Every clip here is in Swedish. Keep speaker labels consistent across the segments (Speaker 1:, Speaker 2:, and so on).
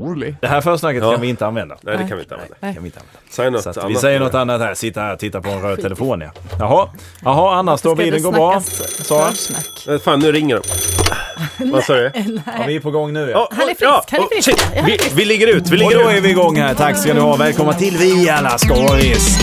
Speaker 1: Rolig.
Speaker 2: Det här försnacket
Speaker 3: Ja.
Speaker 2: kan vi inte använda.
Speaker 3: Nej, det kan vi inte använda.
Speaker 2: Det kan vi inte använda.
Speaker 3: Säg något
Speaker 2: Så att
Speaker 3: annat.
Speaker 2: vi säger något annat här. Sitta här och titta på en röd telefon ja. Jaha, Jaha annars då?
Speaker 4: Ska det
Speaker 2: Bilen går bra?
Speaker 4: snackas
Speaker 2: Sara?
Speaker 4: försnack?
Speaker 3: Eh, Fan, nu ringer de. Vad sa du?
Speaker 2: Ja, vi är på gång nu
Speaker 3: Ja,
Speaker 2: ja.
Speaker 4: Han är frisk,
Speaker 3: ja,
Speaker 4: han är
Speaker 3: oh,
Speaker 4: frisk.
Speaker 3: shit.
Speaker 4: Ja, han
Speaker 3: Vi,
Speaker 4: är
Speaker 3: vi ligger ut, vi
Speaker 2: Och
Speaker 3: ligger
Speaker 2: då
Speaker 3: ut.
Speaker 2: är vi igång här. Tack ska ni ha. Välkomna till Vi alla skådis.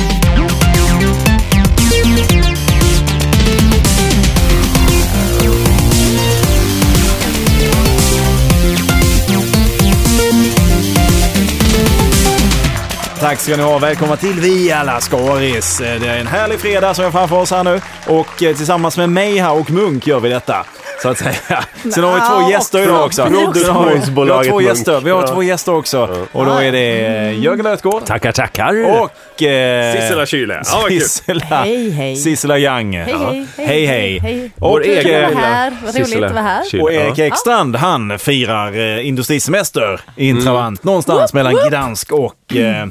Speaker 2: Tack ska ni ha. Välkomna till Vi alla skådis. Eh, Det är en härlig fredag som vi har framför oss här nu. Och eh, tillsammans med mig här och Munk gör vi detta. Så att säga. Sen har vi två
Speaker 4: Ja,
Speaker 2: gäster idag också.
Speaker 4: också.
Speaker 2: Sen har vi- vi har
Speaker 3: Produktionsbolaget
Speaker 2: två
Speaker 3: Munk.
Speaker 2: gäster. Vi har
Speaker 3: Ja.
Speaker 2: två gäster också. Och då är det eh, Jörgen Lötgård
Speaker 1: Tackar, tackar.
Speaker 2: och... eh,
Speaker 3: Sissela Kyle. Ja, vad kul.
Speaker 2: Sissela,
Speaker 4: Hej, hej.
Speaker 2: Sissela Young. Hej,
Speaker 4: hej,
Speaker 2: hej.
Speaker 4: hej, hej.
Speaker 2: Och,
Speaker 3: Vår egen
Speaker 2: eh,
Speaker 4: vara
Speaker 3: lilla
Speaker 4: här. Vad roligt
Speaker 3: Sissela
Speaker 4: att vara här.
Speaker 3: Kyle.
Speaker 2: och
Speaker 3: Ja.
Speaker 2: Erik Ekstrand, han firar eh, industrisemester i en Trabant någonstans mellan Gdansk och eh,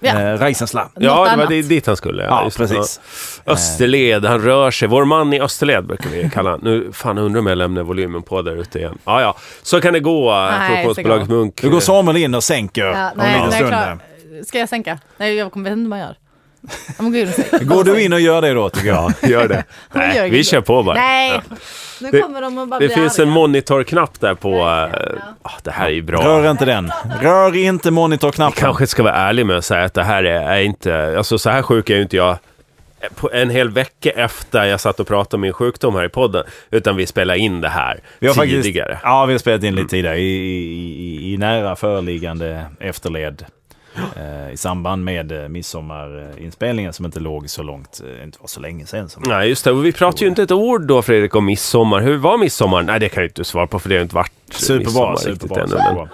Speaker 4: Ja.
Speaker 2: eh, Reisensla.
Speaker 3: Ja,
Speaker 4: Något
Speaker 3: det var
Speaker 4: annat.
Speaker 3: di- dit han skulle.
Speaker 2: Ja,
Speaker 3: just det.
Speaker 2: precis.
Speaker 3: Ja. Österled, han rör sig. Vår man i Österled brukar vi kalla han. Nu, fan, jag undrar om jag lämnar volymen på där ute igen. Ja, ja. Så kan det gå, eh,
Speaker 4: Nej,
Speaker 3: produktionsbolaget
Speaker 4: så
Speaker 3: Munk.
Speaker 2: Nu går Samuel in och sänker
Speaker 4: Ja,
Speaker 2: om en
Speaker 4: nej,
Speaker 2: liten
Speaker 4: nej,
Speaker 2: stund.
Speaker 4: klar.
Speaker 2: här.
Speaker 4: Ska jag sänka? Nej, jag kommer inte vad jag gör. Ja, men gud, säg.
Speaker 2: Går du in och gör det då, tycker jag?
Speaker 3: Gör det.
Speaker 4: Hon gör
Speaker 3: Nej,
Speaker 4: inte
Speaker 3: vi
Speaker 4: det.
Speaker 3: kör på bara.
Speaker 4: Nej,
Speaker 3: Det-
Speaker 4: nu kommer de och bara
Speaker 3: Det
Speaker 4: bli
Speaker 3: finns
Speaker 4: arga.
Speaker 3: en monitorknapp där på... eh, ah, det här är ju bra.
Speaker 2: Rör inte den. Rör inte monitorknappen.
Speaker 3: kanske ska vara ärlig med att säga att det här är, är inte, alltså så här sjuk är ju inte jag på en hel vecka efter jag satt och pratade om min sjukdom här i podden, utan vi spelade in det här
Speaker 2: Vi har faktiskt,
Speaker 3: tidigare.
Speaker 2: Ja, vi har spelat in lite tidigare i, i, i, i nära föreliggande efterled. Eh, I samband med eh, midsommarinspelningen som inte låg så långt, eh, inte var så länge sedan. Som
Speaker 3: Nej, just det. Och vi pratade ju inte ett ord då, Fredrik, om midsommar. Hur var midsommar? Nej, det kan jag ju inte svara på, för det har ju inte varit midsommar
Speaker 2: superbra,
Speaker 3: riktigt
Speaker 2: superbra.
Speaker 3: ännu.
Speaker 2: superbra.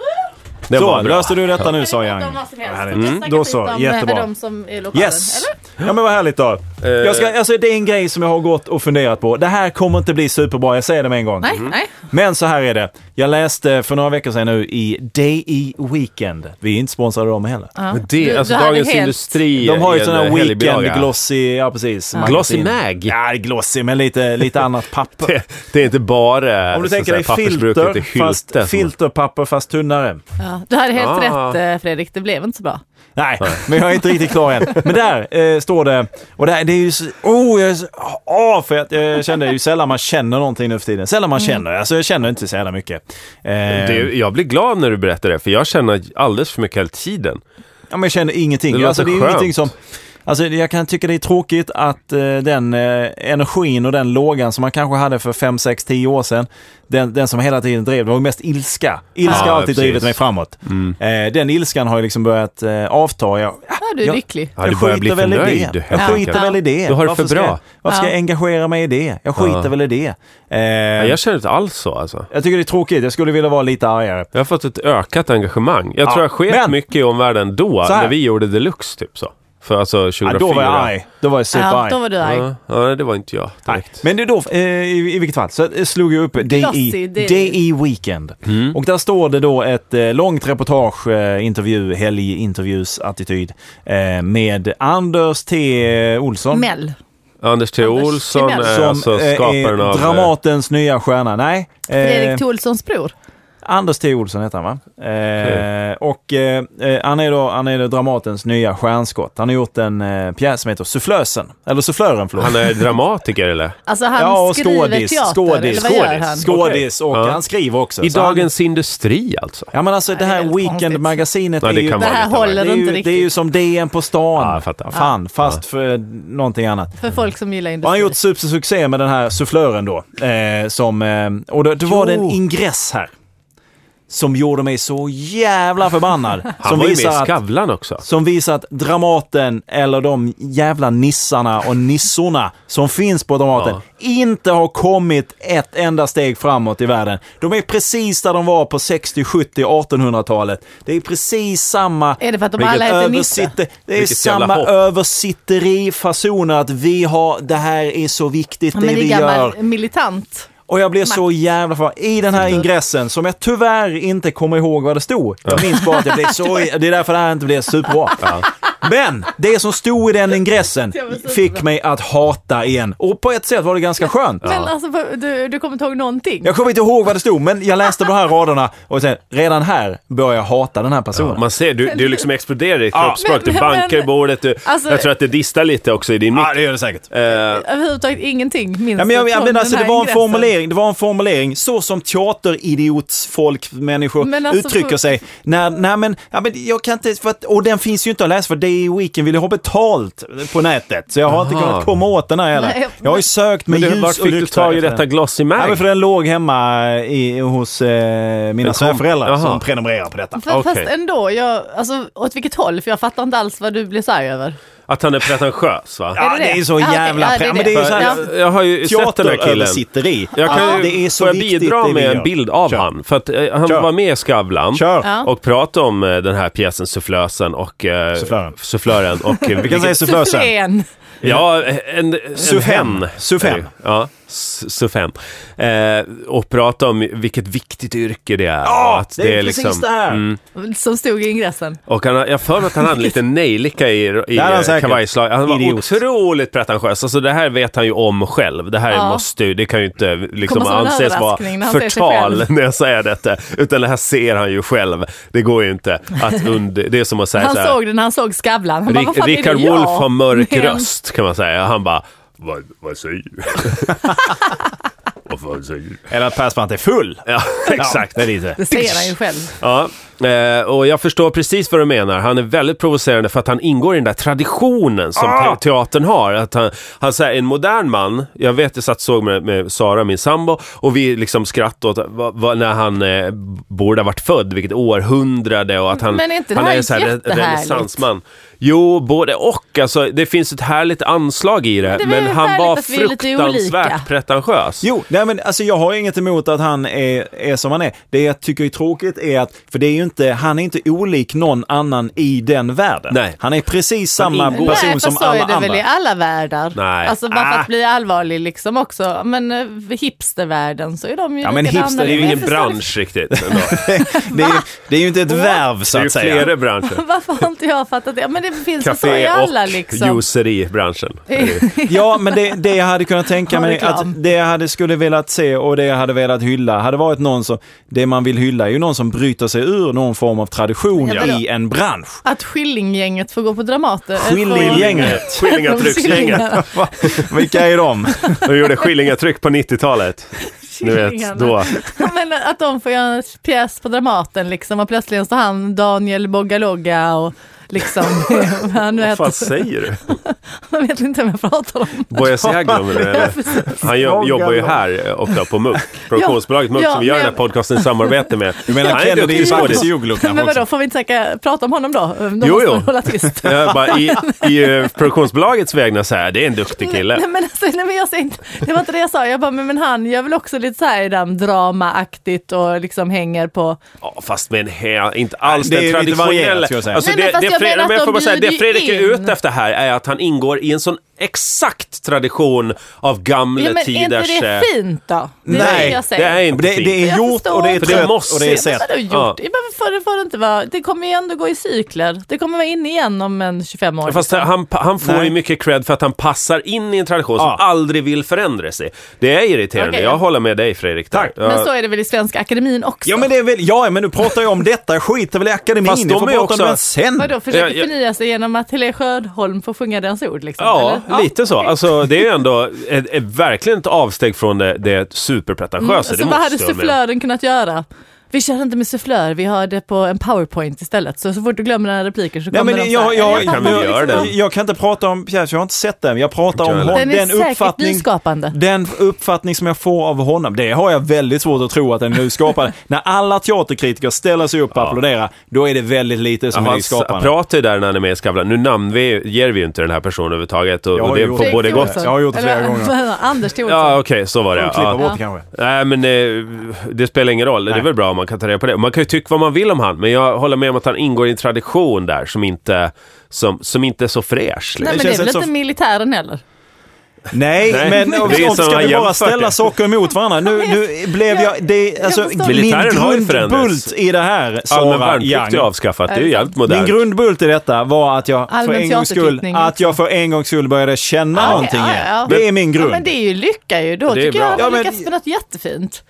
Speaker 3: Men det
Speaker 2: Så,
Speaker 3: var bra.
Speaker 2: löste du detta nu sa
Speaker 4: Eller
Speaker 2: Yang.
Speaker 4: om vad som helst.
Speaker 2: Härligt.
Speaker 4: De kan snacka
Speaker 2: Då
Speaker 4: skit
Speaker 2: så,
Speaker 4: om, eh,
Speaker 2: jättebra.
Speaker 4: De som är i lokalen,
Speaker 2: Yes!
Speaker 4: eller?
Speaker 2: Ja men vad härligt då.
Speaker 3: Eh.
Speaker 2: Jag ska, alltså, det är en grej som jag har gått och funderat på. Det här kommer inte bli superbra, jag säger det med en gång.
Speaker 4: Nej, nej.
Speaker 2: Men så här är det. Jag läste för några veckor sedan nu i DI Weekend. Vi är inte sponsrade av dem heller.
Speaker 3: Men det,
Speaker 4: Du-
Speaker 3: alltså
Speaker 4: du hade
Speaker 3: Dagens
Speaker 4: helt-
Speaker 3: Industri
Speaker 2: De har ju
Speaker 3: är en
Speaker 2: sådana här
Speaker 3: E- helgbilaga.
Speaker 2: weekend glossy, ja precis.
Speaker 3: Glossy
Speaker 2: magasin.
Speaker 3: mag.
Speaker 2: Ja, glossy men lite, lite annat papper.
Speaker 3: Det, det är inte bara
Speaker 2: Om du
Speaker 3: så
Speaker 2: tänker
Speaker 3: att
Speaker 2: dig
Speaker 3: säga, pappersbruket
Speaker 2: filter,
Speaker 3: i Hylte
Speaker 2: fast,
Speaker 3: som-
Speaker 2: filterpapper fast tunnare.
Speaker 4: Ja, du hade helt
Speaker 3: Ah.
Speaker 4: rätt eh, Fredrik, det blev inte så bra.
Speaker 2: Nej, men jag är inte riktigt klar än. Men där eh, står det, och där, det är ju så, oh, jag är så, ah, för att jag kände ju sällan man känner någonting nu för tiden. Sällan man känner, alltså jag känner inte så jävla mycket. Eh,
Speaker 3: Mm. Det, jag blir glad när du berättar det, för jag känner alldeles för mycket hela tiden.
Speaker 2: Ja, men jag känner ingenting.
Speaker 3: Det
Speaker 2: alltså, det
Speaker 3: låter
Speaker 2: är
Speaker 3: skönt.
Speaker 2: ingenting som... Alltså, jag kan tycka det är tråkigt att eh, den eh, energin och den lågan som man kanske hade för 5, 6, 10 år sedan, den, den som hela tiden drev, det var ju mest ilska. Ilska har
Speaker 3: Ja,
Speaker 2: alltid
Speaker 3: precis. Mm.
Speaker 2: drivit mig framåt. Eh, den ilskan har ju liksom börjat eh, avta. Jag,
Speaker 4: Ja, du är
Speaker 2: Jag-
Speaker 4: lycklig.
Speaker 3: Ja, du börjar bli
Speaker 2: skiter väl i
Speaker 3: förnöjd,
Speaker 2: det.
Speaker 3: helt
Speaker 2: Jag
Speaker 3: enkelt.
Speaker 2: skiter väl i det.
Speaker 3: Du har det
Speaker 2: Varför
Speaker 3: för
Speaker 2: ska
Speaker 3: bra.
Speaker 2: jag- Varför ska jag engagera mig i det? Jag skiter
Speaker 3: Ja.
Speaker 2: väl i det. Eh,
Speaker 3: Nej,
Speaker 2: jag...
Speaker 3: jag känner inte alls så alltså.
Speaker 2: tycker det är tråkigt. Jag skulle vilja vara lite argare.
Speaker 3: Jag har fått ett ökat engagemang. Jag tror jag sket
Speaker 2: men-
Speaker 3: mycket i omvärlden då,
Speaker 2: Så här.
Speaker 3: när vi gjorde deluxe typ så. För alltså 2004.
Speaker 2: Ja, då var jag arg. Då var jag
Speaker 4: Ja,
Speaker 2: superarg.
Speaker 4: då var du arg.
Speaker 3: Ja, ja, det var inte jag direkt.
Speaker 2: Men det är då, eh, i, i vilket fall, så eh, slog jag upp DI,
Speaker 4: Glossy, det-
Speaker 2: DI Weekend.
Speaker 3: Mm.
Speaker 2: Och där står det då ett eh, långt reportage, eh, intervju, helgintervjus, attityd eh, med Anders T. Olsson.
Speaker 4: Mell.
Speaker 3: Anders T.
Speaker 4: Anders
Speaker 3: Olsson
Speaker 4: Timell.
Speaker 3: är
Speaker 2: Som
Speaker 3: alltså
Speaker 2: eh,
Speaker 3: skaparen
Speaker 2: är
Speaker 3: av... eh,
Speaker 2: Dramatens nya stjärna. Nej, eh,
Speaker 4: Fredrik Tolsons bror.
Speaker 2: Anders T. Olsson heter han va? Eh, och eh, eh, han är då, han är då Dramatens nya stjärnskott. Han har gjort en eh, pjäs som heter Sufflösen, eller Sufflören förlåt.
Speaker 3: Han är dramatiker eller?
Speaker 4: Alltså han
Speaker 2: och
Speaker 4: skriver teater,
Speaker 2: skådis,
Speaker 4: eller vad gör han?
Speaker 2: skådis, skådis och
Speaker 3: Ja.
Speaker 2: han skriver också.
Speaker 3: I
Speaker 2: Så han-
Speaker 3: Dagens Industri alltså?
Speaker 2: Ja men alltså det
Speaker 4: det är
Speaker 2: här
Speaker 4: väldigt
Speaker 2: weekendmagasinet
Speaker 3: Ja,
Speaker 2: är
Speaker 3: det
Speaker 2: ju...
Speaker 3: kan
Speaker 4: Det
Speaker 3: vara
Speaker 4: här
Speaker 3: lite
Speaker 2: Det är,
Speaker 4: håller inte
Speaker 2: ju, det
Speaker 4: riktigt
Speaker 2: är ju som DN på stan.
Speaker 3: Ja, jag fattar.
Speaker 2: Fan, fast för någonting annat.
Speaker 4: för folk som
Speaker 2: Och
Speaker 4: gillar
Speaker 2: han
Speaker 4: industri.
Speaker 2: har gjort supersuccé med den här sufflören då. Eh, som, eh, och då, då var det en ingress här. Som gjorde mig så jävla förbannad.
Speaker 3: Han
Speaker 2: som,
Speaker 3: var ju med i
Speaker 2: visar att,
Speaker 3: Skavlan också.
Speaker 2: som visar att Dramaten, eller de jävla nissarna och nissorna som finns på Dramaten,
Speaker 3: Ja.
Speaker 2: inte har kommit ett enda steg framåt i världen. De är precis där de var på 60, 70, 1800-talet. Det är precis samma
Speaker 4: Är det för att de
Speaker 3: Vilket
Speaker 4: alla heter Nisse?
Speaker 2: Översitter, det är
Speaker 3: Vilket jävla
Speaker 2: samma
Speaker 3: hopp.
Speaker 2: översitterifasoner att vi har, det här är så viktigt
Speaker 4: Ja,
Speaker 2: det
Speaker 4: men det
Speaker 2: vi
Speaker 4: är
Speaker 2: gör.
Speaker 4: gammal militant.
Speaker 2: Och jag blev så jävla för I den här ingressen som jag tyvärr inte kommer ihåg vad det stod. Jag minns bara att jag blev så, det är därför det här inte blev superbra. Men det som stod i den ingressen
Speaker 4: Jag var så
Speaker 2: fick
Speaker 4: bra.
Speaker 2: mig att hata igen. Och på ett sätt var det ganska skönt.
Speaker 4: Men alltså, vad- du, du kommer inte ihåg någonting?
Speaker 2: Jag kommer inte ihåg vad det stod, men jag läste på de här raderna och sen, redan här började jag hata den här personen.
Speaker 3: Man ser, du, du liksom exploderar i ditt
Speaker 2: Ja.
Speaker 3: kroppsspråk. Du
Speaker 4: Men-
Speaker 3: bankar i
Speaker 4: men-
Speaker 3: bordet. Du,
Speaker 4: Alltså-
Speaker 3: jag tror att det distar lite också i din mick.
Speaker 2: det gör det säkert.
Speaker 3: Eh,
Speaker 4: Överhuvudtaget ingenting minns
Speaker 2: Ja, men jag,
Speaker 4: du
Speaker 2: jag
Speaker 4: från
Speaker 2: menar, alltså,
Speaker 4: den
Speaker 2: det
Speaker 4: här
Speaker 2: var en
Speaker 4: ingressen?
Speaker 2: formulering, det var en formulering, så som teateridiotsfolk, människor
Speaker 4: Men alltså,
Speaker 2: uttrycker
Speaker 4: för-
Speaker 2: sig. Nej, nej men, ja, men jag kan inte, för att, och den finns ju inte att läsa för Day Weekend vill jag ha betalt på nätet. Så jag har inte
Speaker 3: Aha.
Speaker 2: kunnat komma åt den här heller.
Speaker 4: Nej,
Speaker 2: Jag har ju sökt med
Speaker 3: men du,
Speaker 2: ljus
Speaker 3: vart
Speaker 2: och
Speaker 3: fick du
Speaker 2: lykta.
Speaker 3: tag i
Speaker 2: efter
Speaker 3: detta
Speaker 2: den.
Speaker 3: glossy
Speaker 2: Ja, men
Speaker 3: mag?
Speaker 2: för den låg hemma i, hos eh, mina
Speaker 3: kom-
Speaker 2: svärföräldrar
Speaker 3: Jaha.
Speaker 2: som prenumererar på detta.
Speaker 4: Fa- Fast
Speaker 3: Okej.
Speaker 4: ändå, jag, alltså, åt vilket håll? För jag fattar inte alls vad du blir så arg över.
Speaker 3: Att han är pretentiös va?
Speaker 2: Ja,
Speaker 4: det
Speaker 2: det
Speaker 4: det?
Speaker 2: är så
Speaker 4: Ja, okej.
Speaker 2: jävla...
Speaker 4: Ja, det är
Speaker 2: pre-
Speaker 4: det.
Speaker 2: men det är ju så
Speaker 4: För-
Speaker 2: här,
Speaker 4: Ja.
Speaker 3: Jag, jag har ju sett den här killen.
Speaker 2: teateröversitteri.
Speaker 3: Jag kan
Speaker 2: Ja,
Speaker 3: ju,
Speaker 2: det är så
Speaker 3: får jag
Speaker 2: viktigt
Speaker 3: bidra
Speaker 2: det vi
Speaker 3: med
Speaker 2: gör.
Speaker 3: en bild av
Speaker 2: Kör.
Speaker 3: han? För att eh, han
Speaker 2: Kör.
Speaker 3: var med i Skavlan.
Speaker 2: Kör!
Speaker 4: Ja.
Speaker 3: Och prata om eh, den här pjäsen Sufflösen och... Eh,
Speaker 2: Sufflören.
Speaker 3: Sufflören och... eh,
Speaker 2: Vi kan säga sufflösen.
Speaker 4: Sufflén!
Speaker 3: Ja, en, en
Speaker 2: Suffem.
Speaker 3: hen.
Speaker 2: Suffem.
Speaker 3: Är det ju. Ja, s- suffem. Eh, och prata om vilket viktigt yrke det är. liksom- Mm.
Speaker 2: Ja,
Speaker 3: Och att
Speaker 2: det är precis det här.
Speaker 4: Som stod i ingressen.
Speaker 3: och han, har- jag har för mig att han hade lite nejlika i, i
Speaker 2: Det hade han
Speaker 3: eh,
Speaker 2: säkert.
Speaker 3: kavajslag. Han var
Speaker 2: Idiot.
Speaker 3: otroligt pretentiös. Alltså det här vet han ju om själv. Det här
Speaker 4: Ja.
Speaker 3: måste ju, det kan ju inte liksom
Speaker 4: Kommer som en
Speaker 3: anses vara
Speaker 4: överraskning när han säger sig
Speaker 3: förtal
Speaker 4: själv.
Speaker 3: när jag säger detta. Utan det här ser han ju själv. Det går ju inte att und- Det är som att säga
Speaker 4: Han
Speaker 3: så här,
Speaker 4: såg den, han såg Skavlan. Han bara,
Speaker 3: Rick,
Speaker 4: vad fan
Speaker 3: Rickard
Speaker 4: är det jag?
Speaker 3: Wolff har mörk
Speaker 4: Men-
Speaker 3: röst kan man säga. Han bara, vad, vad säger du? vad fan säger du?
Speaker 2: Eller att Persbrandt är full.
Speaker 3: Ja, exakt.
Speaker 2: det är lite.
Speaker 4: Det säger han ju själv.
Speaker 3: Ja, eh, och jag förstår precis vad du menar. Han är väldigt provocerande för att han ingår i den där traditionen som
Speaker 4: Ah!
Speaker 3: te- teatern har. Att han, han säger en modern man, jag vet jag satt och såg med, med Sara, min sambo, och vi liksom skrattade åt vad- vad- när han eh, borde ha varit född, vilket århundrade och att han,
Speaker 4: Men är inte det
Speaker 3: han
Speaker 4: här
Speaker 3: så här re-
Speaker 4: jättehärligt?
Speaker 3: renässansman. Jo, både och. Alltså, det finns ett härligt anslag i det,
Speaker 4: det är
Speaker 3: men
Speaker 4: väl
Speaker 3: han
Speaker 4: härligt
Speaker 3: var
Speaker 4: att vi är lite olika.
Speaker 3: fruktansvärt pretentiös.
Speaker 2: Jo, nej men alltså jag har inget emot att han är, är som han är. Det jag tycker är tråkigt är att, för det är ju inte, han är inte olik någon annan i den världen.
Speaker 3: Nej.
Speaker 2: Han är precis samma
Speaker 3: ingår.
Speaker 2: person
Speaker 4: Nej,
Speaker 2: som
Speaker 4: fast så
Speaker 2: alla
Speaker 4: är det
Speaker 2: andra.
Speaker 4: väl i alla världar.
Speaker 3: Nej.
Speaker 4: Alltså bara för
Speaker 2: Ah.
Speaker 4: att bli allvarlig liksom också. Men eh, hipstervärlden så är de ju
Speaker 2: Ja, men
Speaker 4: likadana.
Speaker 2: hipster
Speaker 3: Det är ju ingen
Speaker 4: Jag förstår
Speaker 3: bransch riktigt. Ändå.
Speaker 2: det, är, ju- det är ju inte ett värv så
Speaker 3: Det är ju
Speaker 2: att säga.
Speaker 3: flera branscher.
Speaker 4: inte. Varför har inte jag fattat det? Men det finns ju så i
Speaker 3: Café
Speaker 4: Alltså, alla
Speaker 3: och
Speaker 4: liksom.
Speaker 3: juiceribranschen.
Speaker 2: Ja, men det, det jag hade kunnat tänka
Speaker 4: Ja,
Speaker 2: mig,
Speaker 4: reklam.
Speaker 2: att det jag hade skulle velat se och det jag hade velat hylla hade varit någon som, det man vill hylla är ju någon som bryter sig ur någon form av tradition
Speaker 4: Ja.
Speaker 2: i en bransch.
Speaker 4: Att Skillinggänget får gå på Dramaten.
Speaker 2: Skillinggänget.
Speaker 3: Skillingatrycksgänget.
Speaker 2: Va? Vilka är de?
Speaker 3: De gjorde skillingatryck på 90-talet. Ni vet, då.
Speaker 4: Ja, Men att de får göra en pjäs på Dramaten liksom och plötsligt står han Daniel Boggalogga och liksom, han
Speaker 3: Vad
Speaker 4: vet,
Speaker 3: fan säger du?
Speaker 4: man vet inte vem jag pratar om.
Speaker 3: Bojas Jaglom, eller? Han jo- jobbar ju här eh, ofta på MUK, produktionsbolaget MUK
Speaker 4: Ja,
Speaker 3: som vi gör
Speaker 4: men-
Speaker 3: den här podcasten i samarbete med.
Speaker 2: Du menar
Speaker 3: Han är en
Speaker 2: Kennedy
Speaker 3: duktig
Speaker 2: i
Speaker 3: skådis.
Speaker 2: Bartisoglu kanske
Speaker 4: Men
Speaker 2: också?
Speaker 4: vadå, får vi inte säkert prata om honom då?
Speaker 3: Jo,
Speaker 4: Då måste
Speaker 3: jo.
Speaker 4: man hålla tyst.
Speaker 3: Jag bara, i, I eh, produktionsbolagets vägnar så här, det är en duktig kille.
Speaker 4: Nej, men alltså, nej, men jag säger inte, det var inte det jag sa, jag bara, men, men han gör väl också lite så här i den dramaaktigt och liksom hänger på...
Speaker 3: Ja, fast med en he- inte alls
Speaker 2: Det är
Speaker 3: den
Speaker 2: lite varierat,
Speaker 3: traditionella.
Speaker 2: ska jag säga.
Speaker 3: Alltså,
Speaker 4: Nej, men
Speaker 3: det,
Speaker 4: fast
Speaker 3: det,
Speaker 4: jag
Speaker 3: Fre-
Speaker 4: menar
Speaker 3: men jag
Speaker 4: att
Speaker 3: får
Speaker 4: de
Speaker 3: bara säga, det
Speaker 4: bjuder
Speaker 3: Fredrik är
Speaker 4: ju in.
Speaker 3: ute efter här är att han ingår i en sån exakt tradition av gamla
Speaker 4: Ja, men är inte
Speaker 3: tiders...
Speaker 4: det
Speaker 3: eh,
Speaker 4: fint då? Det är
Speaker 2: Nej,
Speaker 4: det jag
Speaker 3: det
Speaker 4: säger.
Speaker 3: är inte
Speaker 2: Det,
Speaker 3: fint.
Speaker 2: det är
Speaker 4: Jag
Speaker 2: gjort
Speaker 4: förstår.
Speaker 2: och det är
Speaker 4: För
Speaker 3: det
Speaker 2: trött
Speaker 3: måste-
Speaker 2: och det är
Speaker 4: Men
Speaker 2: sett.
Speaker 4: vadå gjort?
Speaker 3: Ja.
Speaker 4: Ja. Men för det får det inte vara. Det kommer ju ändå gå i cykler. Det kommer vara in igen om en 25 år.
Speaker 3: Ja, Fast han, han får
Speaker 2: Nej.
Speaker 3: ju mycket cred för att han passar in i en tradition som
Speaker 2: Ja.
Speaker 3: aldrig vill förändra sig. Det är irriterande.
Speaker 4: Okej.
Speaker 3: Jag håller med dig Fredrik. där.
Speaker 2: Tack.
Speaker 3: Ja.
Speaker 4: Men så är det väl i Svenska Akademin också?
Speaker 2: Ja men det är väl, ja men du pratar ju om detta, skiter väl i akademin,
Speaker 3: Fast
Speaker 2: Ni
Speaker 3: de
Speaker 2: får
Speaker 3: är
Speaker 2: prata
Speaker 3: också-
Speaker 2: om den sen.
Speaker 4: Vadå, försöker
Speaker 3: Ja, ja.
Speaker 4: förnya sig genom att Helene Sjödholm får sjunga Dens ord? Liksom,
Speaker 3: Ja,
Speaker 4: eller?
Speaker 3: lite så. Alltså, det är ju ändå ett, ett, verkligen ett avsteg från det, det superpretentiösa.
Speaker 4: Mm. Så
Speaker 3: det
Speaker 4: vad
Speaker 3: måste
Speaker 4: hade
Speaker 3: jag hålla med om.
Speaker 4: sufflören kunnat göra? Vi kör inte med sufflör, vi har det på en powerpoint istället. Så, så fort du glömmer den här repliken så
Speaker 2: Nej,
Speaker 4: kommer
Speaker 2: men
Speaker 4: de
Speaker 2: jag,
Speaker 4: så här,
Speaker 2: jag,
Speaker 4: "Ja,
Speaker 3: kan
Speaker 4: fan,
Speaker 3: vi
Speaker 4: liksom,
Speaker 3: göra den?
Speaker 2: jag kan inte prata om pjäs, jag har inte sett den. Jag pratar om
Speaker 3: heller.
Speaker 2: hon,
Speaker 4: Den är
Speaker 2: den,
Speaker 4: säkert
Speaker 2: uppfattning,
Speaker 4: nyskapande.
Speaker 2: den uppfattning som jag får av honom. Det har jag väldigt svårt att tro att den är nyskapande. När alla teaterkritiker ställer sig upp och applåderar, då är det väldigt lite som
Speaker 3: Ja,
Speaker 2: är
Speaker 3: han s-
Speaker 2: nyskapande.
Speaker 3: pratar ju där när han är med i Skavlan. Nu namnger vi ju inte den här personen överhuvudtaget och,
Speaker 2: Jag har
Speaker 3: och det
Speaker 2: gjort
Speaker 3: får
Speaker 2: det.
Speaker 3: både
Speaker 4: Fredrik
Speaker 3: gott...
Speaker 4: Olsson.
Speaker 2: Jag har gjort det flera
Speaker 4: Eller,
Speaker 2: gånger.
Speaker 4: Anders Thorsson.
Speaker 3: Ja, okej, så var det.
Speaker 2: Klippa
Speaker 3: Ja.
Speaker 2: bort kanske.
Speaker 3: Nej, men eh, det spelar ingen roll. Det är väl bra om man kan ta reda på det. Man kan ju tycka vad man vill om han, men jag håller med om att han ingår i en tradition där som inte, som, som inte är så fräsch.
Speaker 4: Nej,
Speaker 3: liksom.
Speaker 4: men
Speaker 2: Det
Speaker 4: det
Speaker 2: känns
Speaker 4: är väl
Speaker 2: inte
Speaker 4: inte
Speaker 2: så-
Speaker 4: militären heller?
Speaker 2: Nej,
Speaker 3: Nej,
Speaker 2: men om,
Speaker 3: det är
Speaker 2: om
Speaker 3: som
Speaker 2: ska
Speaker 3: har
Speaker 2: vi bara
Speaker 3: jämfört
Speaker 2: ställa
Speaker 3: det.
Speaker 2: saker mot varandra? Nu, nu blev jag... Det, alltså,
Speaker 4: Jag
Speaker 2: min
Speaker 4: förstår.
Speaker 3: Militären har ju förändrats.
Speaker 2: grundbult i det här,
Speaker 3: Allmän
Speaker 2: Sara
Speaker 3: Alltså, värnplikt är
Speaker 2: Young.
Speaker 3: avskaffat, det är ju jävligt
Speaker 2: Min
Speaker 3: modernt.
Speaker 2: grundbult i detta var att jag, för
Speaker 4: Allmän
Speaker 2: en, gångs skull,
Speaker 4: teaterklippning, liksom.
Speaker 2: att jag för en gångs skull började känna
Speaker 4: Ja,
Speaker 2: någonting
Speaker 4: okej, ja,
Speaker 2: igen.
Speaker 4: ja.
Speaker 2: Det är min
Speaker 4: Ja,
Speaker 2: grund.
Speaker 4: men det är ju lycka ju. Då
Speaker 3: Det är
Speaker 4: tycker
Speaker 3: bra.
Speaker 4: jag han
Speaker 2: Ja, men-
Speaker 4: lyckats med något jättefint.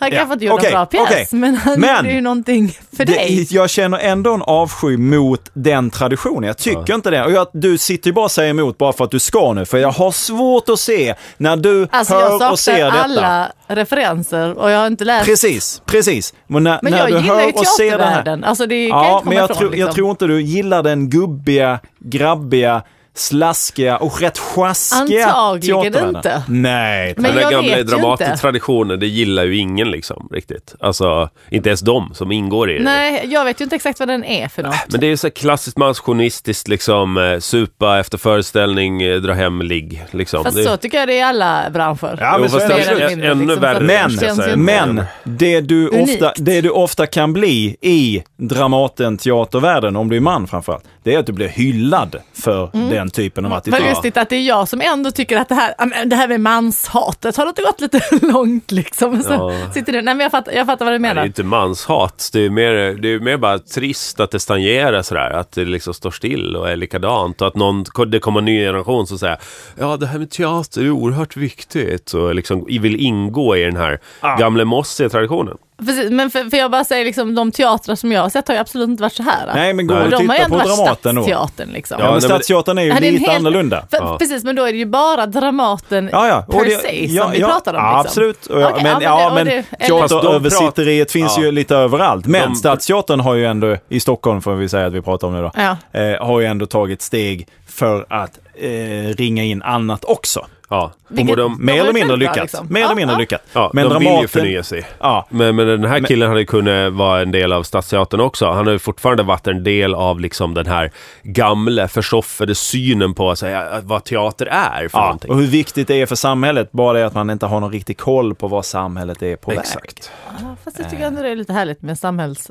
Speaker 4: Han
Speaker 2: Ja,
Speaker 4: kanske inte gjorde
Speaker 2: okej,
Speaker 4: en bra pjäs,
Speaker 2: okej.
Speaker 4: men han
Speaker 2: Men-
Speaker 4: gjorde ju någonting för
Speaker 2: Det-
Speaker 4: dig.
Speaker 2: jag känner ändå en avsky mot den traditionen. Jag tycker inte det. Och jag, du sitter ju bara och säger emot bara för att du ska nu. För jag har svårt att se när du
Speaker 4: Alltså jag
Speaker 2: hör och ser
Speaker 4: saknar
Speaker 2: detta.
Speaker 4: alla referenser och jag har inte läst.
Speaker 2: Precis, precis. Men när,
Speaker 4: Men
Speaker 2: när
Speaker 4: jag
Speaker 2: du
Speaker 4: gillar
Speaker 2: hör
Speaker 4: ju
Speaker 2: och ser det här.
Speaker 4: teatervärlden. Alltså det kan jag
Speaker 2: Ja,
Speaker 4: inte komma
Speaker 2: men jag,
Speaker 4: ifrån.
Speaker 2: tror- jag
Speaker 4: liksom.
Speaker 2: tror inte du gillar den gubbiga, grabbiga, slaskiga och rätt sjaskiga
Speaker 4: Antagligen
Speaker 2: teatervärlden.
Speaker 4: inte.
Speaker 2: Nej.
Speaker 4: Men
Speaker 3: Den där
Speaker 4: jag vet
Speaker 3: gamla
Speaker 4: ju inte.
Speaker 3: Dramatentraditionen, det gillar ju ingen liksom riktigt. Alltså, inte ens de som ingår i det.
Speaker 4: Nej, jag vet ju inte exakt vad den är för något.
Speaker 3: Men det är ju så här klassiskt manschauvinistiskt liksom, eh, supa efter föreställning, eh, dra hem, ligg liksom.
Speaker 4: Fast
Speaker 3: det,
Speaker 4: så tycker jag det är i alla branscher.
Speaker 2: Ja, men
Speaker 3: jo,
Speaker 2: så
Speaker 3: fast
Speaker 2: är det.
Speaker 3: det
Speaker 4: Mer
Speaker 3: är
Speaker 4: eller
Speaker 3: ännu
Speaker 4: mindre, liksom, så
Speaker 3: värre.
Speaker 4: att-
Speaker 2: Men,
Speaker 3: kanske,
Speaker 4: känns
Speaker 3: så här,
Speaker 4: ju inte-
Speaker 2: Men det du,
Speaker 4: Unikt.
Speaker 2: ofta, det du ofta kan bli i Dramaten, teatervärlden, om du är man framförallt, det är att du blir hyllad för den typen av attityd.
Speaker 4: Mm. Vad lustigt att det är jag som ändå tycker att det här, ja, men det här med manshatet, har det inte gått lite långt liksom? Så
Speaker 3: Ja.
Speaker 4: sitter du, nej men jag fattar, jag fattar vad du
Speaker 3: Det är
Speaker 4: menar.
Speaker 3: ju inte manshat, det är ju mer, det är ju mer bara trist att det stagnerar sådär, att det liksom står still och är likadant och att någon, det kommer en ny generation som säger ja det här med teater är oerhört viktigt och liksom vill ingå i den här gamla mossiga traditionen.
Speaker 4: Precis, men för, för jag bara säger liksom, de teatrar som jag har sett har ju absolut inte varit så här.
Speaker 2: Nej, men gå och
Speaker 4: de har ju
Speaker 2: titta på
Speaker 4: ändå varit
Speaker 2: Dramaten då. Ja,
Speaker 4: Stadsteatern liksom.
Speaker 3: Ja,
Speaker 2: men
Speaker 3: nej, men-
Speaker 2: Stadsteatern är ju
Speaker 4: Ja, det är en
Speaker 2: lite
Speaker 4: helt-
Speaker 2: annorlunda.
Speaker 4: För,
Speaker 3: Ja.
Speaker 4: Precis, men då är det ju bara Dramaten
Speaker 2: Ja, ja. Och
Speaker 4: per
Speaker 2: det-
Speaker 4: se som
Speaker 2: ja,
Speaker 4: vi
Speaker 2: ja,
Speaker 4: pratar om.
Speaker 2: ja,
Speaker 4: liksom.
Speaker 2: Absolut. Och ja,
Speaker 4: Okej,
Speaker 2: men ja,
Speaker 4: och
Speaker 2: men
Speaker 4: det- eh, eller-
Speaker 3: Fast de
Speaker 2: teateröversitteriet finns
Speaker 3: ja.
Speaker 2: ju lite överallt. Men
Speaker 3: De-
Speaker 2: Stadsteatern har ju ändå, i Stockholm får vi säga att vi pratar om nu då,
Speaker 4: Ja.
Speaker 2: eh, har ju ändå tagit steg för att eh, ringa in annat också.
Speaker 3: Ja,
Speaker 4: Vilket-
Speaker 3: och de,
Speaker 2: Mer
Speaker 4: har
Speaker 2: eller
Speaker 4: ju
Speaker 2: mindre
Speaker 4: själva,
Speaker 2: lyckat.
Speaker 4: liksom.
Speaker 2: Mer eller
Speaker 4: Ja,
Speaker 2: mindre
Speaker 4: ja.
Speaker 2: lyckat.
Speaker 3: ja, de vill ju förnya sig.
Speaker 2: Ja.
Speaker 3: Men, men den här killen hade ju kunnat vara en del av Stadsteatern också. Han har ju fortfarande varit en del av liksom den här gamla försoffade synen på så här, vad teater är för
Speaker 2: Ja,
Speaker 3: någonting.
Speaker 2: och hur viktigt det är för samhället, bara det att man inte har någon riktig koll på vad samhället är på väg.
Speaker 3: Exakt.
Speaker 4: Ja, Fast jag tycker ändå det är lite härligt med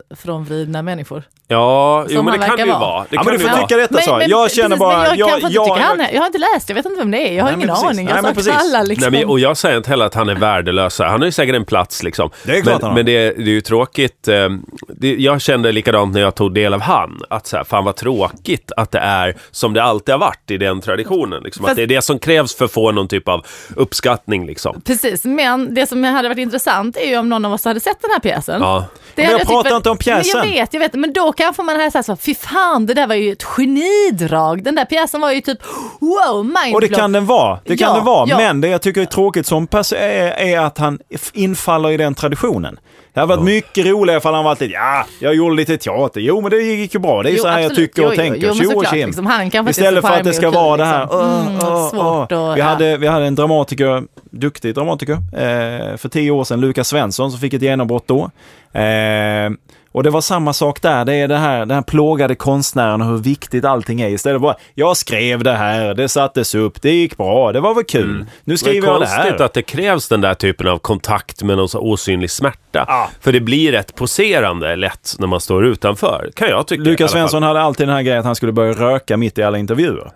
Speaker 4: samhällsfrånvridna människor.
Speaker 3: Ja, jo,
Speaker 4: Som
Speaker 3: men
Speaker 4: han
Speaker 3: det kan det
Speaker 4: verkar
Speaker 3: ju
Speaker 4: vara.
Speaker 3: vara. Det
Speaker 2: Ja,
Speaker 3: kan
Speaker 2: men du
Speaker 3: det
Speaker 2: får
Speaker 3: ju vara.
Speaker 2: tycka detta så. Jag känner
Speaker 4: precis,
Speaker 2: bara...
Speaker 4: men jag, kan få inte
Speaker 2: jag-
Speaker 4: tycka han är, jag har inte läst, jag vet inte vem det är, jag har
Speaker 2: Nej, men
Speaker 4: ingen
Speaker 2: precis.
Speaker 4: aning. Jag
Speaker 2: Nej, men
Speaker 4: saknar
Speaker 2: precis.
Speaker 4: alla liksom.
Speaker 3: Nej, men, och jag säger inte heller att han är värdelös. Han har ju säkert en plats liksom.
Speaker 2: Det är klart han
Speaker 3: men
Speaker 2: har.
Speaker 3: men det, är, det är ju tråkigt. eh, Det, jag kände likadant när jag tog del av han. Att så här, fan vad tråkigt att det är som det alltid har varit i den traditionen. Liksom.
Speaker 4: Fast-
Speaker 3: Att det är det som krävs för att få någon typ av uppskattning liksom.
Speaker 4: Precis, men det som hade varit intressant är ju om någon av oss hade sett den här pjäsen.
Speaker 3: Ja.
Speaker 4: Det
Speaker 2: Men
Speaker 4: hade
Speaker 2: jag pratar
Speaker 4: tyckt var-
Speaker 2: inte om pjäsen.
Speaker 4: Men jag vet, jag vet. Men då kanske man hade sagt så, fy fan det där var ju ett genidrag. Den där pjäsen var ju typ wow, mindblown.
Speaker 2: Och det kan den vara. Det kan
Speaker 4: Ja,
Speaker 2: den vara.
Speaker 4: ja.
Speaker 2: Men det jag tycker är tråkigt som person är, är att han f- infaller i den traditionen. Det hade varit mycket roligare ifall han varit lite, ja, jag gjorde lite teater. Jo, men det gick ju bra. Det är
Speaker 4: Jo,
Speaker 2: så här jag
Speaker 4: absolut.
Speaker 2: tycker
Speaker 4: Jo,
Speaker 2: och
Speaker 4: jo,
Speaker 2: tänker.
Speaker 4: jo, men
Speaker 2: Tjo och
Speaker 4: såklart,
Speaker 2: tjim.
Speaker 4: liksom. Han kanske inte är
Speaker 2: Istället
Speaker 4: så
Speaker 2: för att det
Speaker 4: charmig
Speaker 2: ska
Speaker 4: och
Speaker 2: vara
Speaker 4: kul,
Speaker 2: det här.
Speaker 4: liksom.
Speaker 2: "Åh,
Speaker 4: Mm,
Speaker 2: åh,
Speaker 4: svårt
Speaker 2: åh."
Speaker 4: att-
Speaker 2: vi,
Speaker 4: ja.
Speaker 2: hade, Eh, vi hade en dramatiker, duktig dramatiker, eh, för tio år sedan, Lukas Svensson, som fick ett genombrott då. Eh, och det var samma sak där, det är det här, den här plågade konstnären och hur viktigt allting är. Istället bara, jag skrev det här, det sattes upp, det gick bra, det var väl kul. Nu
Speaker 3: Mm. Det är
Speaker 2: skriver jag det
Speaker 3: konstigt
Speaker 2: här.
Speaker 3: att det krävs den där typen av kontakt med någon så osynlig smärta.
Speaker 2: Ja.
Speaker 3: För det blir rätt poserande lätt när man står utanför, kan jag tycka.
Speaker 2: Lukas
Speaker 3: i alla fall.
Speaker 2: Svensson hade alltid den här grejen att han skulle börja röka mitt i alla intervjuer.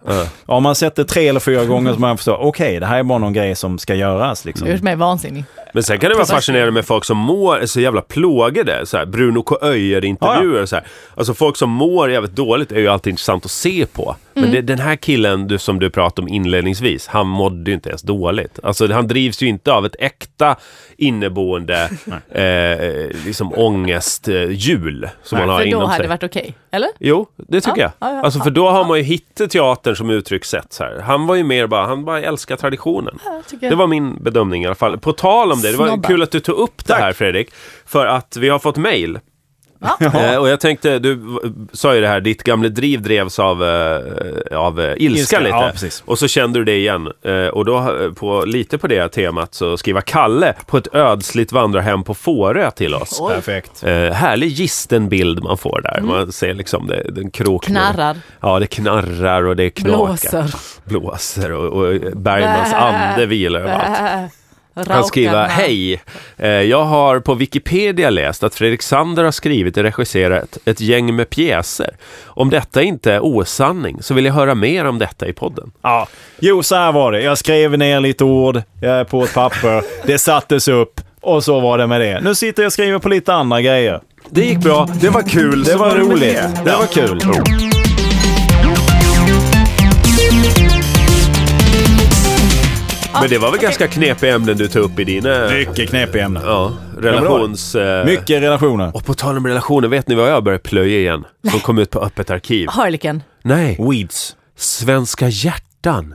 Speaker 2: Om man sett det tre eller fyra gånger så man förstår, okej, det här är bara någon grej som ska göras. Liksom.
Speaker 4: Det har gjort mig vansinnig.
Speaker 3: Men sen kan det vara fascinerande med folk som mår är så jävla plågade. Så här, Bruno K. Öijer-intervjuer. och Så här. Alltså folk som mår jävligt dåligt är ju alltid intressant att se på. Men
Speaker 4: Mm.
Speaker 3: det, den här killen du, som du pratade om inledningsvis, han mådde ju inte ens dåligt. Alltså han drivs ju inte av ett äkta inneboende eh, liksom ångesthjul som han har
Speaker 4: För då
Speaker 3: inom
Speaker 4: hade det
Speaker 3: sig.
Speaker 4: varit okej, eller?
Speaker 3: Jo, det tycker
Speaker 4: Ja,
Speaker 3: jag.
Speaker 4: ja, ja,
Speaker 3: alltså, för då har man ju hittat teatern som uttryckssätt. Så här. Han var ju mer bara, han bara älskar traditionen.
Speaker 4: tycker jag.
Speaker 3: Det var min bedömning i alla fall. På tal om det, det var
Speaker 4: Snobbar.
Speaker 3: kul att du tog upp det här Fredrik. För att vi har fått mail. Eh, och jag tänkte, du v- sa ju det här, ditt gamla driv drevs av, eh, av eh, ilska,
Speaker 2: Ilska,
Speaker 3: lite.
Speaker 2: ja, precis.
Speaker 3: och så kände du det igen. Eh, och då, eh, på, lite på det här temat, så skriva Kalle på ett ödsligt vandrarhem på Fårö till oss.
Speaker 2: Perfekt.
Speaker 3: Eh, härlig gistenbild man får där. Man ser liksom det, den krok
Speaker 4: Mm. Knarrar.
Speaker 3: Ja, det knarrar och det knakar.
Speaker 4: Blåser.
Speaker 3: Blåser och, och Bergmans ande vilar överallt.
Speaker 4: Äh,
Speaker 3: kan
Speaker 4: Raukarna.
Speaker 3: skriva Hej! Eh, jag har på Wikipedia läst att Fredrik Sander har skrivit och regisserat ett gäng med pjäser. Om detta inte är osanning så vill jag höra mer om detta i podden.
Speaker 2: Ja. Jo, så här var det. Jag skrev ner lite ord eh, på ett papper. Det sattes upp och så var det med det. Nu sitter jag och skriver på lite andra grejer.
Speaker 3: Det gick bra, det var kul.
Speaker 2: Det
Speaker 3: så
Speaker 2: var
Speaker 3: med
Speaker 2: roligt.
Speaker 3: det.
Speaker 2: Det var kul.
Speaker 3: Men det var väl ganska knepiga ämnen du tog upp i dina
Speaker 2: Mycket knepiga ämnen.
Speaker 3: ja, relations... eh,
Speaker 2: Mycket relationer.
Speaker 3: Och på tal om relationer, vet ni vad jag började plöja igen? Som kom ut på Öppet arkiv.
Speaker 4: Harlequin.
Speaker 3: Nej,
Speaker 2: Weeds.
Speaker 3: Svenska hjärtan.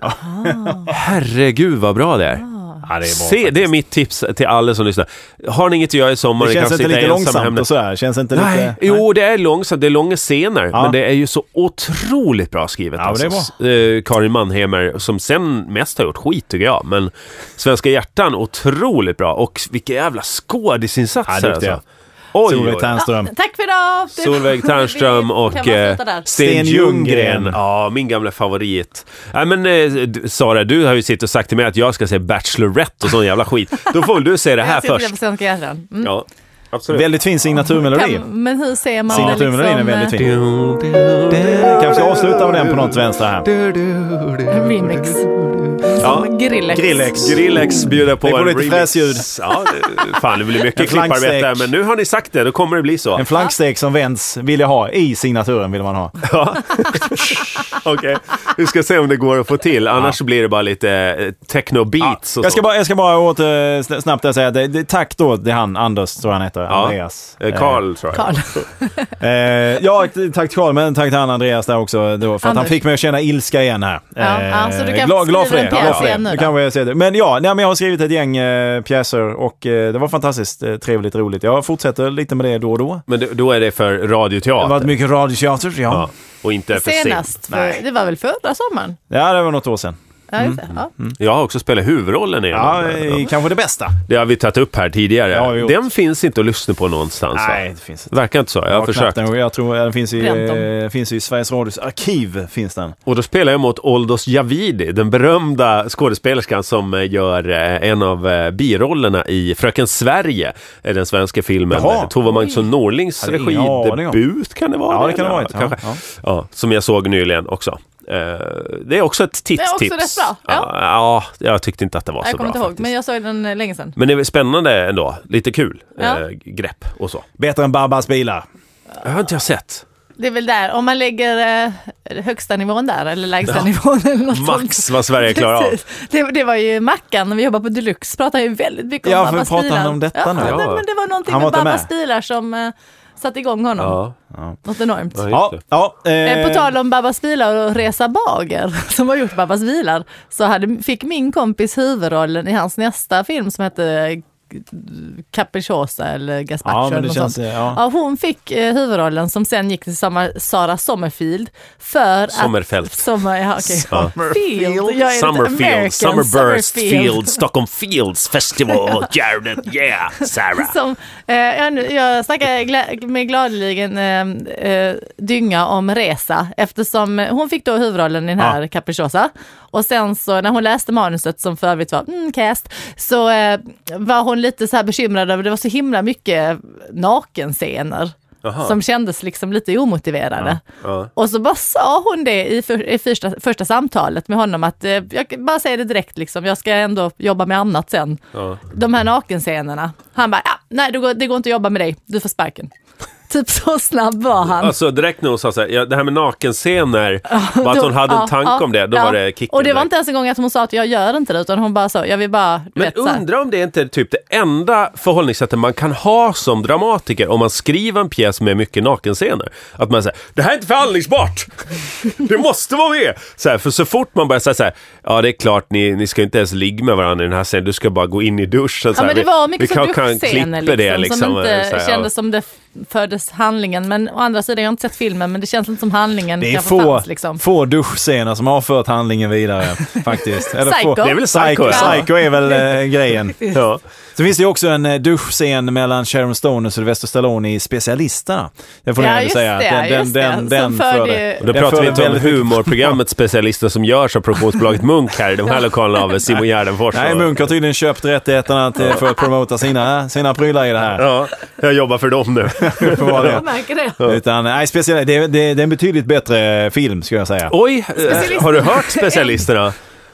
Speaker 3: Herregud vad bra det är.
Speaker 2: Ah. Ja, det är bra.
Speaker 3: Se, det är mitt tips till alla som lyssnar. Har ni inget att göra i sommar,
Speaker 2: Det
Speaker 3: ni
Speaker 2: känns
Speaker 3: kan
Speaker 2: inte
Speaker 3: sitta
Speaker 2: lite
Speaker 3: ensamma
Speaker 2: långsamt
Speaker 3: hemma.
Speaker 2: och sådär. Känns inte
Speaker 3: Nej,
Speaker 2: lite...
Speaker 3: jo det är långsamt, det är långa scener,
Speaker 2: Ja.
Speaker 3: men det är ju så otroligt bra skrivet.
Speaker 2: Ja, men det är
Speaker 3: Eh, Karin Mannheimer, som sen mest har gjort skit tycker jag, men Svenska hjärtan, otroligt bra. Och vilka jävla skådisinsatser
Speaker 2: Ja, duktiga.
Speaker 3: alltså. Oj, oj,
Speaker 2: Solveig
Speaker 3: oj.
Speaker 2: Ternström.
Speaker 4: Tack för idag! Det-
Speaker 3: Solveig Ternström
Speaker 4: Vi
Speaker 3: och
Speaker 4: kan bara
Speaker 3: eh,
Speaker 4: sluta där.
Speaker 3: Sten
Speaker 2: Sten
Speaker 3: Ljunggren.
Speaker 2: Ljunggren.
Speaker 3: Ja, min gamla favorit. Nej men eh, du- Sara, du har ju suttit och sagt till mig att jag ska säga Bachelorette och sån jävla skit. Då får väl du säga det här
Speaker 4: Jag sitter
Speaker 3: först.
Speaker 4: på Svenska hjärtan. Mm.
Speaker 3: Ja, absolut.
Speaker 2: Väldigt fin signaturmelodi.
Speaker 4: Kan, men hur säger man det liksom?
Speaker 2: Signaturmelodin är väldigt fin. Kanske ska avsluta med den på något vänster här.
Speaker 4: eh, Remix.
Speaker 3: Ja.
Speaker 4: Grillex.
Speaker 2: Grillex.
Speaker 3: Grillex bjuder på
Speaker 2: Det får
Speaker 3: en
Speaker 2: lite
Speaker 3: remix.
Speaker 2: fräsljud.
Speaker 3: Ja, det, fan det blir
Speaker 2: En
Speaker 3: mycket
Speaker 2: flankstek.
Speaker 3: klipparbete här, men nu har ni sagt det, då kommer det bli så.
Speaker 2: En flankstek som vänds vill jag ha. I signaturen vill man ha.
Speaker 3: Okej, vi ska se om det går att få till, annars blir det bara lite eh, techno-beats och
Speaker 2: Jag ska
Speaker 3: sånt.
Speaker 2: bara, jag ska bara åter, sn- snabbt där säga att det, det, tack då till han, Anders tror jag han heter, Andreas.
Speaker 3: Eh, Carl tror jag.
Speaker 4: Karl.
Speaker 2: Eh, eh, ja, t- tack till Carl, men tack till han Andreas där också. Då, för att han
Speaker 4: Anders.
Speaker 2: fick mig att känna ilska igen här. Eh,
Speaker 4: Ja, ja, så du kan
Speaker 2: glad, glad för
Speaker 4: skriva
Speaker 2: det.
Speaker 4: en pjäs
Speaker 2: Glad för det.
Speaker 4: igen nu
Speaker 2: Nu
Speaker 4: då.
Speaker 2: kan jag säga det. Men ja, nej, men jag har skrivit ett gäng eh, pjäser och eh, det var fantastiskt eh, trevligt roligt. Jag fortsätter lite med det då och då.
Speaker 3: Men då- då är det för
Speaker 2: Det har varit
Speaker 3: radioteater.
Speaker 2: mycket radioteater, ja.
Speaker 3: Ja,
Speaker 2: ja.
Speaker 3: och inte för sent.
Speaker 4: Senast, för, det var väl förra sommaren?
Speaker 2: det var något år sedan.
Speaker 4: Ja, just det.
Speaker 3: Mm.
Speaker 4: Ja.
Speaker 3: Jag har också spelat huvudrollen i den.
Speaker 2: Ja,
Speaker 3: här.
Speaker 2: eh, kanske det bästa.
Speaker 3: Det har vi tagit upp här tidigare.
Speaker 2: Ja, jo.
Speaker 3: den finns inte att lyssna på någonstans. va?
Speaker 2: Nej, det finns inte.
Speaker 3: Verkar inte så. Jag har
Speaker 2: Ja,
Speaker 3: försökt.
Speaker 2: knappt nog. Jag tror eh, den finns i,
Speaker 4: Bränt dem.
Speaker 2: eh, finns i Sveriges Radios arkiv. Finns den.
Speaker 3: Och då spelar jag mot Oldos Javidi, den berömda skådespelerskan som eh, gör eh, en av eh, birollerna i Fröken Sverige, eh, den svenska filmen.
Speaker 2: Jaha.
Speaker 3: eh, Tove Magnusson Norlings
Speaker 2: Hade ingen aning om.
Speaker 3: regidebut kan det vara?
Speaker 2: Ja, det kan det vara.
Speaker 3: kanske.
Speaker 2: Ja,
Speaker 3: Ja, som jag såg nyligen också. Eh, Det är också ett
Speaker 4: Det är
Speaker 3: tittstips.
Speaker 4: också rätt bra.
Speaker 3: Ja.
Speaker 4: Ja.
Speaker 3: ja, jag tyckte inte att det var så
Speaker 4: Jag
Speaker 3: bra
Speaker 4: kommer inte ihåg,
Speaker 3: faktiskt.
Speaker 4: men jag såg den eh, länge sedan.
Speaker 3: Men det är väl spännande ändå. Lite kul
Speaker 4: Ja.
Speaker 3: eh, grepp och så.
Speaker 2: Bättre än Babbas bilar.
Speaker 3: Det har inte jag sett.
Speaker 4: Det är väl där, om man lägger eh, högsta nivån där eller lägsta nivån eller något sånt.
Speaker 3: Max vad Sverige klarar av.
Speaker 4: Precis. Det, det var ju Mackan, när vi jobbade på Deluxe, pratade ju väldigt mycket om
Speaker 2: Ja, för
Speaker 4: Babbas
Speaker 2: pratar
Speaker 4: bilar.
Speaker 2: han om detta
Speaker 4: ja,
Speaker 2: nu?
Speaker 4: Ja,
Speaker 3: Ja.
Speaker 4: men det var någonting
Speaker 2: Han
Speaker 4: med
Speaker 2: var inte
Speaker 4: Babbas
Speaker 2: med.
Speaker 4: bilar som eh, satte igång honom.
Speaker 3: Ja.
Speaker 4: Något enormt.
Speaker 3: Ja,
Speaker 2: Ja,
Speaker 3: just det.
Speaker 2: ja,
Speaker 4: Eh,
Speaker 2: eh,
Speaker 4: På tal om Babbas bilar och Reza Bager som har gjort Babbas bilar så hade, fick min kompis huvudrollen i hans nästa film som hette Capricciosa eller Gazpacho.
Speaker 2: Ja, men
Speaker 4: eller
Speaker 2: det
Speaker 4: något
Speaker 2: känns...
Speaker 4: sånt.
Speaker 2: Ja.
Speaker 4: Ja, hon fick eh, huvudrollen som sen gick till samma Sara Sommerfield för
Speaker 3: Sommerfält.
Speaker 4: att... Sommer, ja, okej.
Speaker 3: Ja.
Speaker 4: Field. Jag är lite American.
Speaker 3: Summerfield, Summerburst
Speaker 4: Summerfield.
Speaker 3: Field, Stockholm Fields Festival, Jared, yeah, Sarah.
Speaker 4: Som, eh, jag, nu- jag snackar gla- med gladeligen eh, eh, dynga om Resa eftersom eh, hon fick då huvudrollen i den här Capricciosa och sen så när hon läste manuset som för övrigt var mm, cast så eh, var hon lite så här bekymrad över det var så himla mycket nakenscener. Som kändes liksom lite omotiverade. Och så bara sa hon det i, för, i första, första samtalet med honom att eh, jag bara säger det direkt liksom, jag ska ändå jobba med annat sen de här nakenscenerna. Han bara, ja, nej det går, det går inte att jobba med dig, du får sparken. Typ så snabb var han.
Speaker 3: Alltså direkt när hon sa så här, ja, det här med nakenscener, var att
Speaker 4: Då-
Speaker 3: hon hade
Speaker 4: ja,
Speaker 3: en tanke
Speaker 4: ja,
Speaker 3: om det, då
Speaker 4: ja.
Speaker 3: var det kicken.
Speaker 4: Och det var
Speaker 3: direkt.
Speaker 4: inte ens en gång att hon sa att jag gör inte det, utan hon bara så, jag vill bara, du
Speaker 3: men
Speaker 4: vet så här.
Speaker 3: undra om det inte är typ det enda förhållningssättet man kan ha som dramatiker om man skriver en pjäs med mycket nakenscener. Att man säger, det här är inte förhandlingsbart! Det måste vara med! Så här, för så fort man börjar säga så här, ja det är klart ni, ni ska inte ens ligga med varandra i den här scenen, du ska bara gå in i duschen. Så här,
Speaker 4: Ja men det
Speaker 3: vi-
Speaker 4: var mycket
Speaker 3: vi
Speaker 4: så
Speaker 3: kan- kan
Speaker 4: duschscener
Speaker 3: klippa
Speaker 4: liksom,
Speaker 3: det,
Speaker 4: som
Speaker 3: liksom,
Speaker 4: inte
Speaker 3: så här, ja.
Speaker 4: kändes som det föddes handlingen. Men å andra sidan, jag har inte sett filmen, men det känns inte som handlingen
Speaker 2: Det är
Speaker 4: kanske
Speaker 2: få,
Speaker 4: fanns. Liksom.
Speaker 2: få duschscener som har fört handlingen vidare faktiskt. Eller
Speaker 4: Psycho.
Speaker 2: Få,
Speaker 3: Det är väl
Speaker 2: Psycho,
Speaker 3: psycho?
Speaker 4: Ja.
Speaker 2: Psycho är väl eh, grejen.
Speaker 3: Ja.
Speaker 2: Sen finns det ju också en eh, duschscen mellan Sharon Stone och Sylvester Stallone i Specialisterna. Den får
Speaker 4: Ja,
Speaker 2: jag ändå
Speaker 4: just
Speaker 2: säga.
Speaker 4: det,
Speaker 2: Den,
Speaker 4: just det.
Speaker 2: den, den,
Speaker 4: Som
Speaker 2: den förde-
Speaker 4: förde-
Speaker 3: Och då
Speaker 2: den
Speaker 3: pratar vi
Speaker 2: förde
Speaker 3: inte om
Speaker 2: väldigt mycket-
Speaker 3: humorprogrammets specialister som görs av produktionsbolaget Munk här i de här lokalerna av Simon Gärdenfors.
Speaker 2: Nej, Munk har tydligen köpt rättigheterna till, för att promota sina, sina prylar i det här.
Speaker 3: Ja, jag jobbar för dem nu.
Speaker 2: uppenbarligen.
Speaker 4: Jag märker det.
Speaker 2: Utan, nej, speciellt, det, det, det är en betydligt bättre film skulle jag säga.
Speaker 3: Oj, eh, har du hört specialisterna?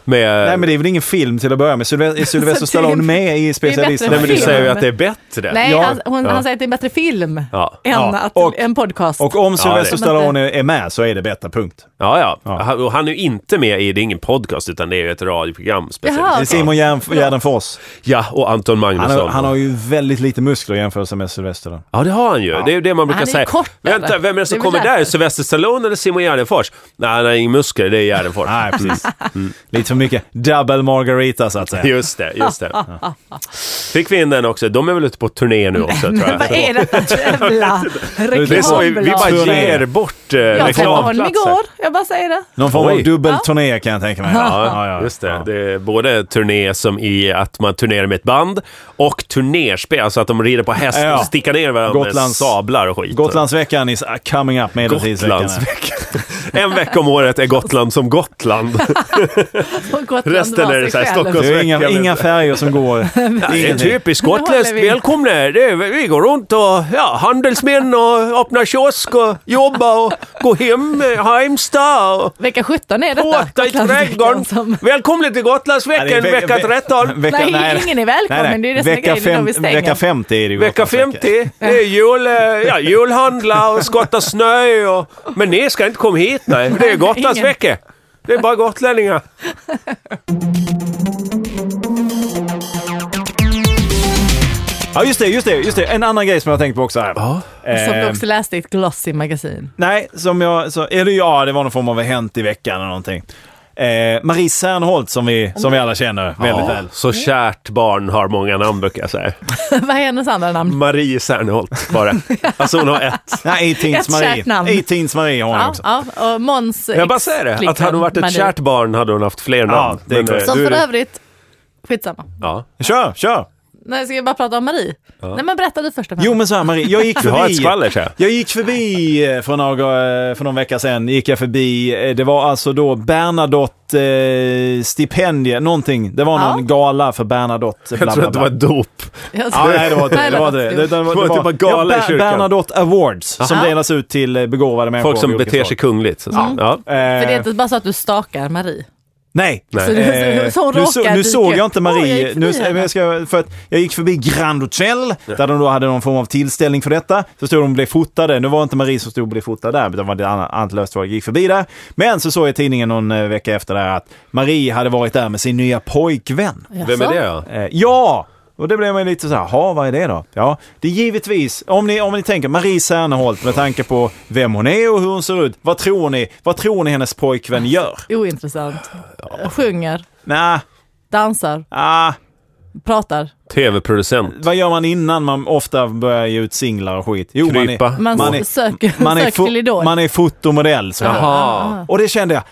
Speaker 3: Med...
Speaker 2: Nej men det är väl ingen film till att börja med. Sylve- Är Sylvester
Speaker 4: Så
Speaker 2: Stallone
Speaker 4: tydligen-
Speaker 2: med i Specialisterna?
Speaker 4: Nej, men
Speaker 3: du
Speaker 4: film.
Speaker 3: säger ju att det är bättre.
Speaker 4: Nej,
Speaker 2: Ja.
Speaker 4: han, hon,
Speaker 3: Ja.
Speaker 4: han säger att det är en bättre film
Speaker 3: Ja.
Speaker 4: än
Speaker 2: Ja.
Speaker 4: att,
Speaker 2: Och-
Speaker 4: en podcast.
Speaker 2: Och om
Speaker 3: det
Speaker 2: Sylvester
Speaker 3: är-
Speaker 2: Stallone är med så är det bättre, punkt.
Speaker 3: Ja, ja. Han- Och han är ju inte med i, det är ingen podcast, utan det är ju ett radioprogram.
Speaker 4: Jaha,
Speaker 2: Det
Speaker 3: Specialisterna.
Speaker 2: är
Speaker 4: okej.
Speaker 2: Simon Järn- Gärdenfors.
Speaker 3: Ja, och Anton
Speaker 2: Han,
Speaker 3: Magnusson.
Speaker 2: har- han har ju väldigt lite muskler jämfört med Sylvester. Då.
Speaker 3: Ja, det har han ju. Det är ju det man brukar
Speaker 4: Han är ju
Speaker 3: säga.
Speaker 4: kort,
Speaker 3: Vänta,
Speaker 4: eller?
Speaker 3: vem är det som
Speaker 4: Det är väl
Speaker 3: kommer där?
Speaker 4: därför.
Speaker 3: Sylvester Stallone eller Simon Gärdenfors? Nej, han har ingen muskler, det är Gärdenfors.
Speaker 2: Nej, precis. Lite för mycket double margarita så att säga.
Speaker 3: Just det, just det. Fick vi in den också? De är väl ute på turné nu också, tror jag.
Speaker 4: Vad är detta för jävla
Speaker 3: Det är så, vi, vi bara
Speaker 4: reklamblad?
Speaker 2: Turné.
Speaker 3: ger bort eh,
Speaker 4: Jag träffade honom
Speaker 3: reklamplatser.
Speaker 4: igår, jag bara säger det.
Speaker 2: Någon form av
Speaker 3: Oj.
Speaker 2: dubbelturné kan jag tänka mig. Ja, ja, ja.
Speaker 3: Just det. det är både turné som i att man turnerar med ett band och turnerspel, alltså att de rider på häst
Speaker 2: Ja.
Speaker 3: och stickar ner varandra med
Speaker 2: Gotlands-
Speaker 3: sablar och skit.
Speaker 2: Gotlandsveckan is coming up, medeltidsveckan. är.
Speaker 3: Gotlandsveckan. en vecka om året är Gotland som Gotland.
Speaker 4: Och Gotland
Speaker 3: Resten
Speaker 4: var
Speaker 3: är det
Speaker 4: sig
Speaker 3: så här,
Speaker 4: själv.
Speaker 3: Stockholm-
Speaker 2: Det är inga,
Speaker 3: Gotlandsveckan.
Speaker 2: inga färger som går.
Speaker 3: Det är typ
Speaker 2: Ingenting.
Speaker 3: typiskt
Speaker 4: Det
Speaker 3: gotländskt.
Speaker 4: håller vi.
Speaker 3: Välkomna! Det är, vi går runt och ja, handelsmän och öppnar kiosk och jobbar och går hem, eh, Heimstad och
Speaker 4: Vecka 17 är detta.
Speaker 3: åta i
Speaker 4: Gotlandsveckan
Speaker 3: trädgården.
Speaker 4: som-
Speaker 3: Välkomna till Gotlandsveckan
Speaker 2: Ja, det är ve-
Speaker 3: vecka
Speaker 2: ve-
Speaker 3: 13.
Speaker 2: Vecka,
Speaker 4: Nej, ingen är välkommen, det är ju det som är
Speaker 2: vecka,
Speaker 4: grejen, det är då vi stänger.
Speaker 2: vecka 50 är det ju
Speaker 3: Vecka
Speaker 2: Gotlandsvecka.
Speaker 3: 50, det är jul, eh, ja, julhandla och skotta snö. Och, men ni ska inte komma hit, nej. Det är Gotlandsvecka. Det är bara gotlänningar.
Speaker 2: Ja, just det, just det, just det. En annan grej som jag har tänkt på också här.
Speaker 4: Som du
Speaker 2: Eh,
Speaker 4: också läste i ett glossy magasin.
Speaker 2: Nej, som jag... Så, eller ja, det var någon form av hänt i veckan eller någonting. Eh, Marie Serneholt som vi, som vi alla känner väldigt väl.
Speaker 3: Så kärt barn har många namn brukar jag säga.
Speaker 4: Vad är hennes andra namn?
Speaker 3: Marie Serneholt bara. Alltså hon har ett.
Speaker 2: Nej, 18s
Speaker 4: Ett
Speaker 2: Marie.
Speaker 4: kärt namn.
Speaker 2: 18s Marie har hon
Speaker 4: Ja,
Speaker 2: också.
Speaker 4: ja, och Måns
Speaker 3: Jag bara säger det, att
Speaker 4: ex-flickvän
Speaker 3: hade hon varit ett
Speaker 4: Marie.
Speaker 3: kärt barn hade hon haft fler namn.
Speaker 2: det är
Speaker 3: Men,
Speaker 2: klart.
Speaker 3: eh,
Speaker 4: Som
Speaker 2: Du är
Speaker 4: för
Speaker 2: det.
Speaker 4: övrigt, skitsamma.
Speaker 3: ja.
Speaker 2: Kör, kör!
Speaker 4: Nej, ska jag bara prata om Marie? Nej men berätta du först om henne.
Speaker 2: Jo men så här Marie, jag gick
Speaker 3: Du
Speaker 2: förbi.
Speaker 3: har ett skvaller så här.
Speaker 2: Jag gick förbi eh, för, några, eh, för någon vecka sedan, gick jag förbi, eh, det var alltså då Bernadotte eh, stipendie, någonting. Det var
Speaker 4: Ja.
Speaker 2: någon gala för Bernadotte.
Speaker 3: Jag
Speaker 2: bla,
Speaker 3: tror
Speaker 2: bla,
Speaker 3: att det
Speaker 2: bla.
Speaker 3: var dop.
Speaker 4: Jag
Speaker 2: Ja,
Speaker 4: tror-
Speaker 2: nej, det var inte det. Det var inte det. Det, det,
Speaker 3: Det var typ en gala i
Speaker 2: Ber-
Speaker 3: kyrkan.
Speaker 2: Bernadotte Awards som
Speaker 4: Aha.
Speaker 2: delas ut till eh, begåvade människor.
Speaker 3: Folk som
Speaker 2: av olika
Speaker 3: beter sig
Speaker 2: slag.
Speaker 3: kungligt. Så att säga. Ja.
Speaker 2: Eh,
Speaker 4: För det är inte bara så att du stakar Marie.
Speaker 2: Nej.
Speaker 3: Nej.
Speaker 4: Så du,
Speaker 2: Eh,
Speaker 4: så hon
Speaker 2: nu, så,
Speaker 4: råkar
Speaker 2: nu
Speaker 4: dyka
Speaker 2: såg
Speaker 4: upp.
Speaker 2: jag inte
Speaker 4: Oj, jag
Speaker 2: Marie.
Speaker 4: gick
Speaker 2: nu,
Speaker 4: förbi henne.
Speaker 2: jag, ska, för att jag gick förbi Grand Hotel där de då hade någon form av tillställning för detta. Så stod de och blev fotade. Nu var inte Marie som stod och blev fotad där, utan det var det annat annat löst folk gick förbi där. Men så såg jag i tidningen någon eh, vecka efter där att Marie hade varit där med sin nya pojkvän.
Speaker 3: Vem är
Speaker 4: Jaså?
Speaker 3: det då?
Speaker 2: Eh, ja! Och det blev man ju lite så här, ha vad är det då? Ja, det är givetvis, om ni, om ni tänker Marie Serneholt med tanke på vem hon är och hur hon ser ut. Vad tror ni, vad tror ni hennes pojkvän gör?
Speaker 4: Ointressant. Sjunger,
Speaker 2: Nej,
Speaker 4: dansar,
Speaker 2: ah,
Speaker 4: pratar.
Speaker 3: Tv-producent.
Speaker 2: vad gör man innan man ofta börjar ge ut singlar och skit? Jo,
Speaker 3: Krypa.
Speaker 4: Man,
Speaker 2: Man är-
Speaker 4: söker,
Speaker 2: Man, är, man, är,
Speaker 4: söker till
Speaker 2: fo-
Speaker 4: Idol.
Speaker 2: man är fotomodell. Så
Speaker 3: Jaha.
Speaker 2: Och det kände jag.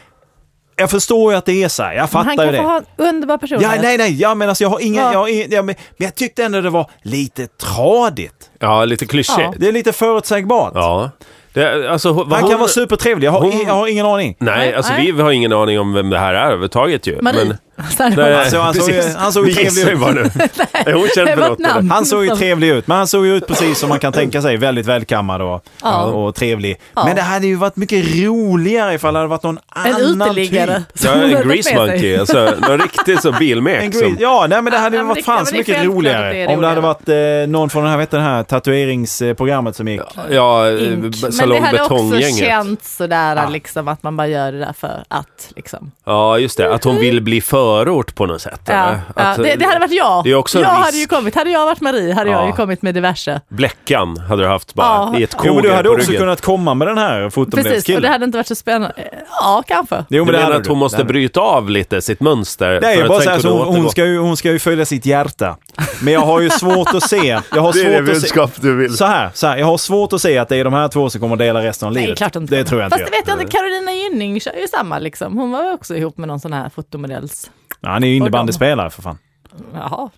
Speaker 2: Jag förstår ju att det är så här. Jag
Speaker 4: Men han
Speaker 2: fattar ju
Speaker 4: kan
Speaker 2: det.
Speaker 4: få ha en underbar person.
Speaker 2: Ja, nej, nej, ja, men alltså jag har inga,
Speaker 4: Ja.
Speaker 2: jag har inga ja, men men jag tyckte ändå det var lite tradigt.
Speaker 3: Ja, lite
Speaker 4: Ja.
Speaker 3: klyschigt.
Speaker 2: Det är lite förutsägbart.
Speaker 3: Ja. Det, alltså, vad
Speaker 2: Han
Speaker 3: hon-
Speaker 2: kan vara supertrevlig, jag har,
Speaker 3: hon-
Speaker 2: jag har ingen aning.
Speaker 3: Nej, alltså
Speaker 4: Nej.
Speaker 3: vi har ingen aning om vem det här är överhuvudtaget ju.
Speaker 4: Marie.
Speaker 3: Men,
Speaker 4: Nej,
Speaker 2: Alltså, han såg ju-
Speaker 3: precis.
Speaker 2: han såg ju
Speaker 3: Vi gissar
Speaker 2: trevlig ut.
Speaker 3: bara nu. Är hon känd
Speaker 4: det
Speaker 3: för
Speaker 4: var
Speaker 3: något?
Speaker 4: ett namn.
Speaker 3: eller?
Speaker 2: Han såg
Speaker 4: Mm.
Speaker 2: ju trevlig ut, men han såg ju ut precis som man kan tänka sig. Väldigt välkammad och,
Speaker 4: Ja.
Speaker 2: och trevlig.
Speaker 4: Ja.
Speaker 2: Men det hade ju varit mycket roligare ifall det hade varit någon
Speaker 4: En
Speaker 2: annan
Speaker 4: uteliggare.
Speaker 2: typ.
Speaker 3: Ja,
Speaker 4: som hon har
Speaker 3: en
Speaker 4: tagit
Speaker 3: grease
Speaker 4: med sig.
Speaker 3: monkey. Alltså, någon riktig så
Speaker 2: En
Speaker 3: bilmek.
Speaker 2: gris,
Speaker 3: Som,
Speaker 2: ja, nej, men det hade
Speaker 4: Ja,
Speaker 2: ju
Speaker 4: men det-
Speaker 2: varit
Speaker 4: ja,
Speaker 2: fan
Speaker 4: men
Speaker 2: så
Speaker 4: det är
Speaker 2: mycket
Speaker 4: självklart
Speaker 2: roligare.
Speaker 4: att det är
Speaker 2: Om det hade
Speaker 4: roligare.
Speaker 2: varit eh, någon från den här, vet du, det här tatueringsprogrammet som gick.
Speaker 3: ja, eh,
Speaker 4: Ink. Men det
Speaker 3: Salong
Speaker 4: hade också
Speaker 3: Betong-gänget.
Speaker 4: känts sådär liksom, att man bara gör det där för att. Liksom.
Speaker 3: Ja, just det. Att hon vill bli förort på något sätt.
Speaker 4: Ja,
Speaker 3: eller?
Speaker 4: ja,
Speaker 3: Att,
Speaker 4: det, det hade varit jag.
Speaker 3: Det är också en
Speaker 4: jag
Speaker 3: risk.
Speaker 4: hade ju kommit, hade jag varit Marie hade
Speaker 3: Ja.
Speaker 4: jag ju kommit med diverse.
Speaker 3: eh, Bläckan hade du haft bara
Speaker 4: Ja.
Speaker 3: i ett
Speaker 2: Jo,
Speaker 3: koger
Speaker 2: men du hade
Speaker 3: på
Speaker 2: också
Speaker 3: ryggen.
Speaker 2: kunnat komma med den här
Speaker 4: Precis, och det
Speaker 2: fotomodellskillen.
Speaker 4: hade inte varit så spännande. Ja, kanske.
Speaker 2: Jo,
Speaker 3: Du menar
Speaker 2: hade
Speaker 3: att hon
Speaker 2: du.
Speaker 3: måste
Speaker 2: Det hade du.
Speaker 3: bryta av lite sitt mönster?
Speaker 2: Nej,
Speaker 3: för
Speaker 2: jag
Speaker 3: att
Speaker 2: bara
Speaker 3: sen
Speaker 2: säga så
Speaker 3: kunna
Speaker 2: hon, hon,
Speaker 3: återgå?
Speaker 2: ska ju, hon ska ju följa sitt hjärta. Men jag har ju svårt att se. Jag har
Speaker 1: Det är det
Speaker 2: svårt att se.
Speaker 1: budskap du vill.
Speaker 2: Så här, så här, jag har svårt att se att det är de här två som kommer att dela resten av livet.
Speaker 4: Nej, klart inte.
Speaker 2: Det tror jag inte.
Speaker 4: Fast det vet jag inte, Carolina Gynning kör ju samma liksom. Hon var ju också ihop med någon sån här fotomodells...
Speaker 2: Ja, han är ju innebandyspelare för fan.
Speaker 4: Jaha.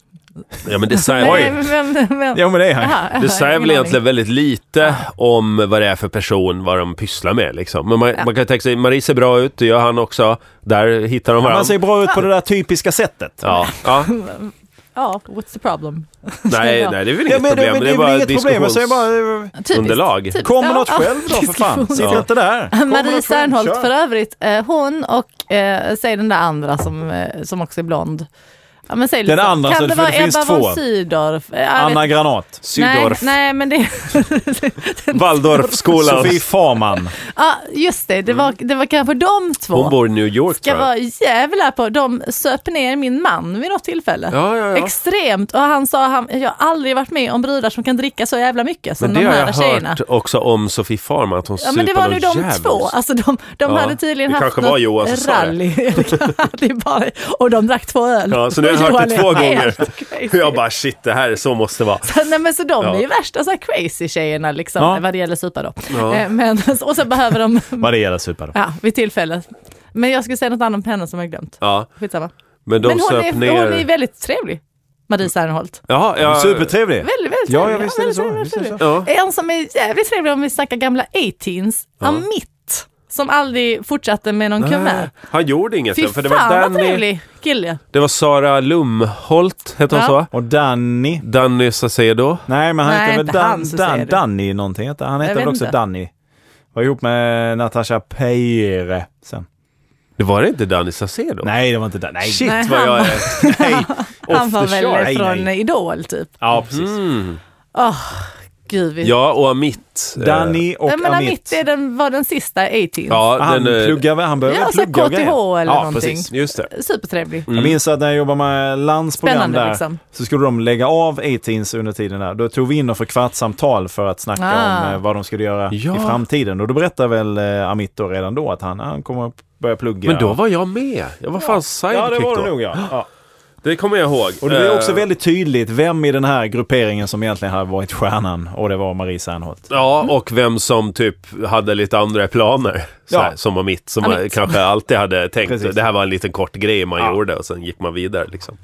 Speaker 3: Ja, men det säger,
Speaker 4: Nej, men, men,
Speaker 2: Jo, men det är han.
Speaker 4: Jaha,
Speaker 3: det
Speaker 4: jag har
Speaker 3: säger
Speaker 4: ingen
Speaker 3: väl egentligen
Speaker 4: aning.
Speaker 3: väldigt lite om vad det är för person, vad de pysslar med liksom. Men man, man kan ju tänka sig, Marie ser bra ut, det gör han också. Där hittar de varandra.
Speaker 2: Man ser bra ut på det där typiska sättet.
Speaker 3: Ja, ja.
Speaker 4: liksom- Ja, what's the problem?
Speaker 3: Nej,
Speaker 4: Ja.
Speaker 3: nej, det är väl inget
Speaker 2: Ja, men det,
Speaker 3: problem.
Speaker 2: men det är
Speaker 3: bara
Speaker 2: väl inget problem. Jag säger
Speaker 3: diskussions-
Speaker 2: bara,
Speaker 4: Typiskt.
Speaker 3: Underlag.
Speaker 2: kom med
Speaker 4: Ja,
Speaker 2: något
Speaker 4: ja,
Speaker 2: själv då för fan.
Speaker 4: diskussion.
Speaker 2: Sitt
Speaker 3: Ja.
Speaker 2: inte där. Kom med
Speaker 4: Marie
Speaker 2: något själv,
Speaker 4: Serneholt
Speaker 2: kör.
Speaker 4: för övrigt, eh, hon och eh, säg den där andra som, eh, som också är blond. Ja, men säg
Speaker 2: Den
Speaker 4: lite.
Speaker 2: andra, så-
Speaker 4: kan det
Speaker 2: för
Speaker 4: vara
Speaker 2: det finns
Speaker 4: Ebba
Speaker 2: två.
Speaker 4: von Sydow? Eh, jag vet-
Speaker 2: Anna Granat.
Speaker 4: nej,
Speaker 3: Sydorf,
Speaker 4: nej, men det...
Speaker 3: Waldorfskolan.
Speaker 2: Sofie Farman.
Speaker 4: Ja, just det. Det
Speaker 2: Mm.
Speaker 4: var, det var kanske de två.
Speaker 3: Hon bor i New York
Speaker 4: ska
Speaker 3: tror jag.
Speaker 4: vara jävla på. De söp ner min man vid något tillfälle.
Speaker 3: Ja, ja, ja.
Speaker 4: Extremt. Och han sa, han, jag har aldrig varit med om brudar som kan dricka så jävla mycket som
Speaker 3: Men
Speaker 4: de
Speaker 3: det har
Speaker 4: här
Speaker 3: jag
Speaker 4: tjejerna.
Speaker 3: hört också om Sofie Farman, att hon
Speaker 4: Ja men det var
Speaker 3: nu
Speaker 4: nu de två, alltså de, de
Speaker 3: Ja,
Speaker 4: hade tydligen
Speaker 3: det
Speaker 4: haft
Speaker 3: kanske var
Speaker 4: något
Speaker 3: Johan som sa det.
Speaker 4: rally. det är bara, och de drack två öl.
Speaker 3: Ja, så nu har jag
Speaker 4: Och
Speaker 3: hört det
Speaker 4: Johan
Speaker 3: två
Speaker 4: är
Speaker 3: gånger.
Speaker 4: helt
Speaker 3: Och
Speaker 4: crazy.
Speaker 3: jag bara shit, det här, så måste det vara.
Speaker 4: Nej men så de
Speaker 3: Ja.
Speaker 4: är ju värsta så här crazy tjejerna liksom,
Speaker 2: Ja.
Speaker 4: vad det gäller supa då.
Speaker 3: Ja.
Speaker 4: Eh, Men, och så behöver de,
Speaker 2: Vad det gäller super.
Speaker 4: ja vid tillfälle. Men jag skulle säga något annat om henne som jag glömt.
Speaker 3: Ja,
Speaker 4: Skitsamma.
Speaker 3: men de
Speaker 4: men hon
Speaker 3: söp
Speaker 4: är,
Speaker 3: ner...
Speaker 4: hon är väldigt trevlig, Marie Serneholt.
Speaker 3: Jaha, ja,
Speaker 2: Supertrevlig.
Speaker 4: Väldigt, väldigt
Speaker 2: Ja,
Speaker 4: trevlig.
Speaker 2: ja, visst är det
Speaker 4: väldigt
Speaker 2: så.
Speaker 4: trevlig,
Speaker 2: Visst är det
Speaker 4: väldigt
Speaker 3: Ja.
Speaker 4: trevlig. En som är jävligt trevlig om vi snackar gamla 18s, ja. Amit, som aldrig fortsatte med någon kuvert.
Speaker 3: Han gjorde inget.
Speaker 4: Fy
Speaker 3: för det var
Speaker 4: fan vad
Speaker 3: Danny,
Speaker 4: trevlig kille.
Speaker 3: det var Sara Lumholt, hette hon
Speaker 4: Ja.
Speaker 3: så?
Speaker 2: Och Danny.
Speaker 3: Danny Saucedo.
Speaker 2: Nej, men han
Speaker 4: Nej,
Speaker 2: heter väl
Speaker 4: inte
Speaker 2: Dan,
Speaker 4: han som säger
Speaker 2: Dan,
Speaker 4: det.
Speaker 2: Danny någonting. heter- Han heter
Speaker 4: Jag
Speaker 2: väl
Speaker 4: vet
Speaker 2: också
Speaker 4: inte.
Speaker 2: Danny. Var ihop med Natasha Peire sen.
Speaker 3: Det var det inte Danny Saucedo?
Speaker 2: Nej, det var inte Danny. Nej.
Speaker 3: Shit
Speaker 4: Nej,
Speaker 3: vad
Speaker 4: han
Speaker 3: jag eh,
Speaker 4: var-
Speaker 3: är...
Speaker 2: Nej.
Speaker 4: Han var
Speaker 2: the
Speaker 4: väl
Speaker 2: chart. Nej,
Speaker 4: från
Speaker 2: nej.
Speaker 4: Idol typ.
Speaker 2: Ja, precis.
Speaker 3: Mm.
Speaker 4: Gud, vi...
Speaker 3: Ja, och Amit. eh,
Speaker 2: Danny och
Speaker 4: Nej, men Amit
Speaker 2: Amit.
Speaker 4: är den, var den sista 18s.
Speaker 3: Ja,
Speaker 2: Han
Speaker 3: den, eh,
Speaker 2: pluggar väl? Han behöver
Speaker 4: Ja, alltså så
Speaker 2: plugga och
Speaker 4: KTH
Speaker 2: grejer.
Speaker 4: eller
Speaker 2: ja,
Speaker 4: någonting.
Speaker 2: Precis.
Speaker 3: Just det.
Speaker 4: Supertrevlig.
Speaker 3: Mm.
Speaker 2: Jag minns att när jag jobbade med landsprogram
Speaker 4: Spännande
Speaker 2: där
Speaker 4: liksom.
Speaker 2: så skulle de lägga av 18s under tiden där. Då tog vi in dem för kvartssamtal för att snacka
Speaker 4: Ah.
Speaker 2: om eh, vad de skulle göra
Speaker 3: Ja.
Speaker 2: i framtiden. Och då berättade väl eh, Amit då redan då att han, han kommer att börja plugga.
Speaker 3: Men då var jag med. Jag var fan sidekick
Speaker 2: Ja, det var
Speaker 3: då.
Speaker 2: det nog ja. ja.
Speaker 3: Det kommer jag ihåg.
Speaker 2: Och det blev också
Speaker 3: Eh,
Speaker 2: väldigt tydligt vem i den här grupperingen som egentligen hade varit stjärnan och det var Marie Serneholt.
Speaker 3: Ja, och vem som typ hade lite andra planer. Så här,
Speaker 2: Ja.
Speaker 3: Som var mitt, som
Speaker 4: Amit.
Speaker 3: man kanske alltid hade tänkt.
Speaker 2: Precis.
Speaker 3: Det här var en liten kort grej man
Speaker 2: Ja.
Speaker 3: gjorde och sen gick man vidare. Liksom.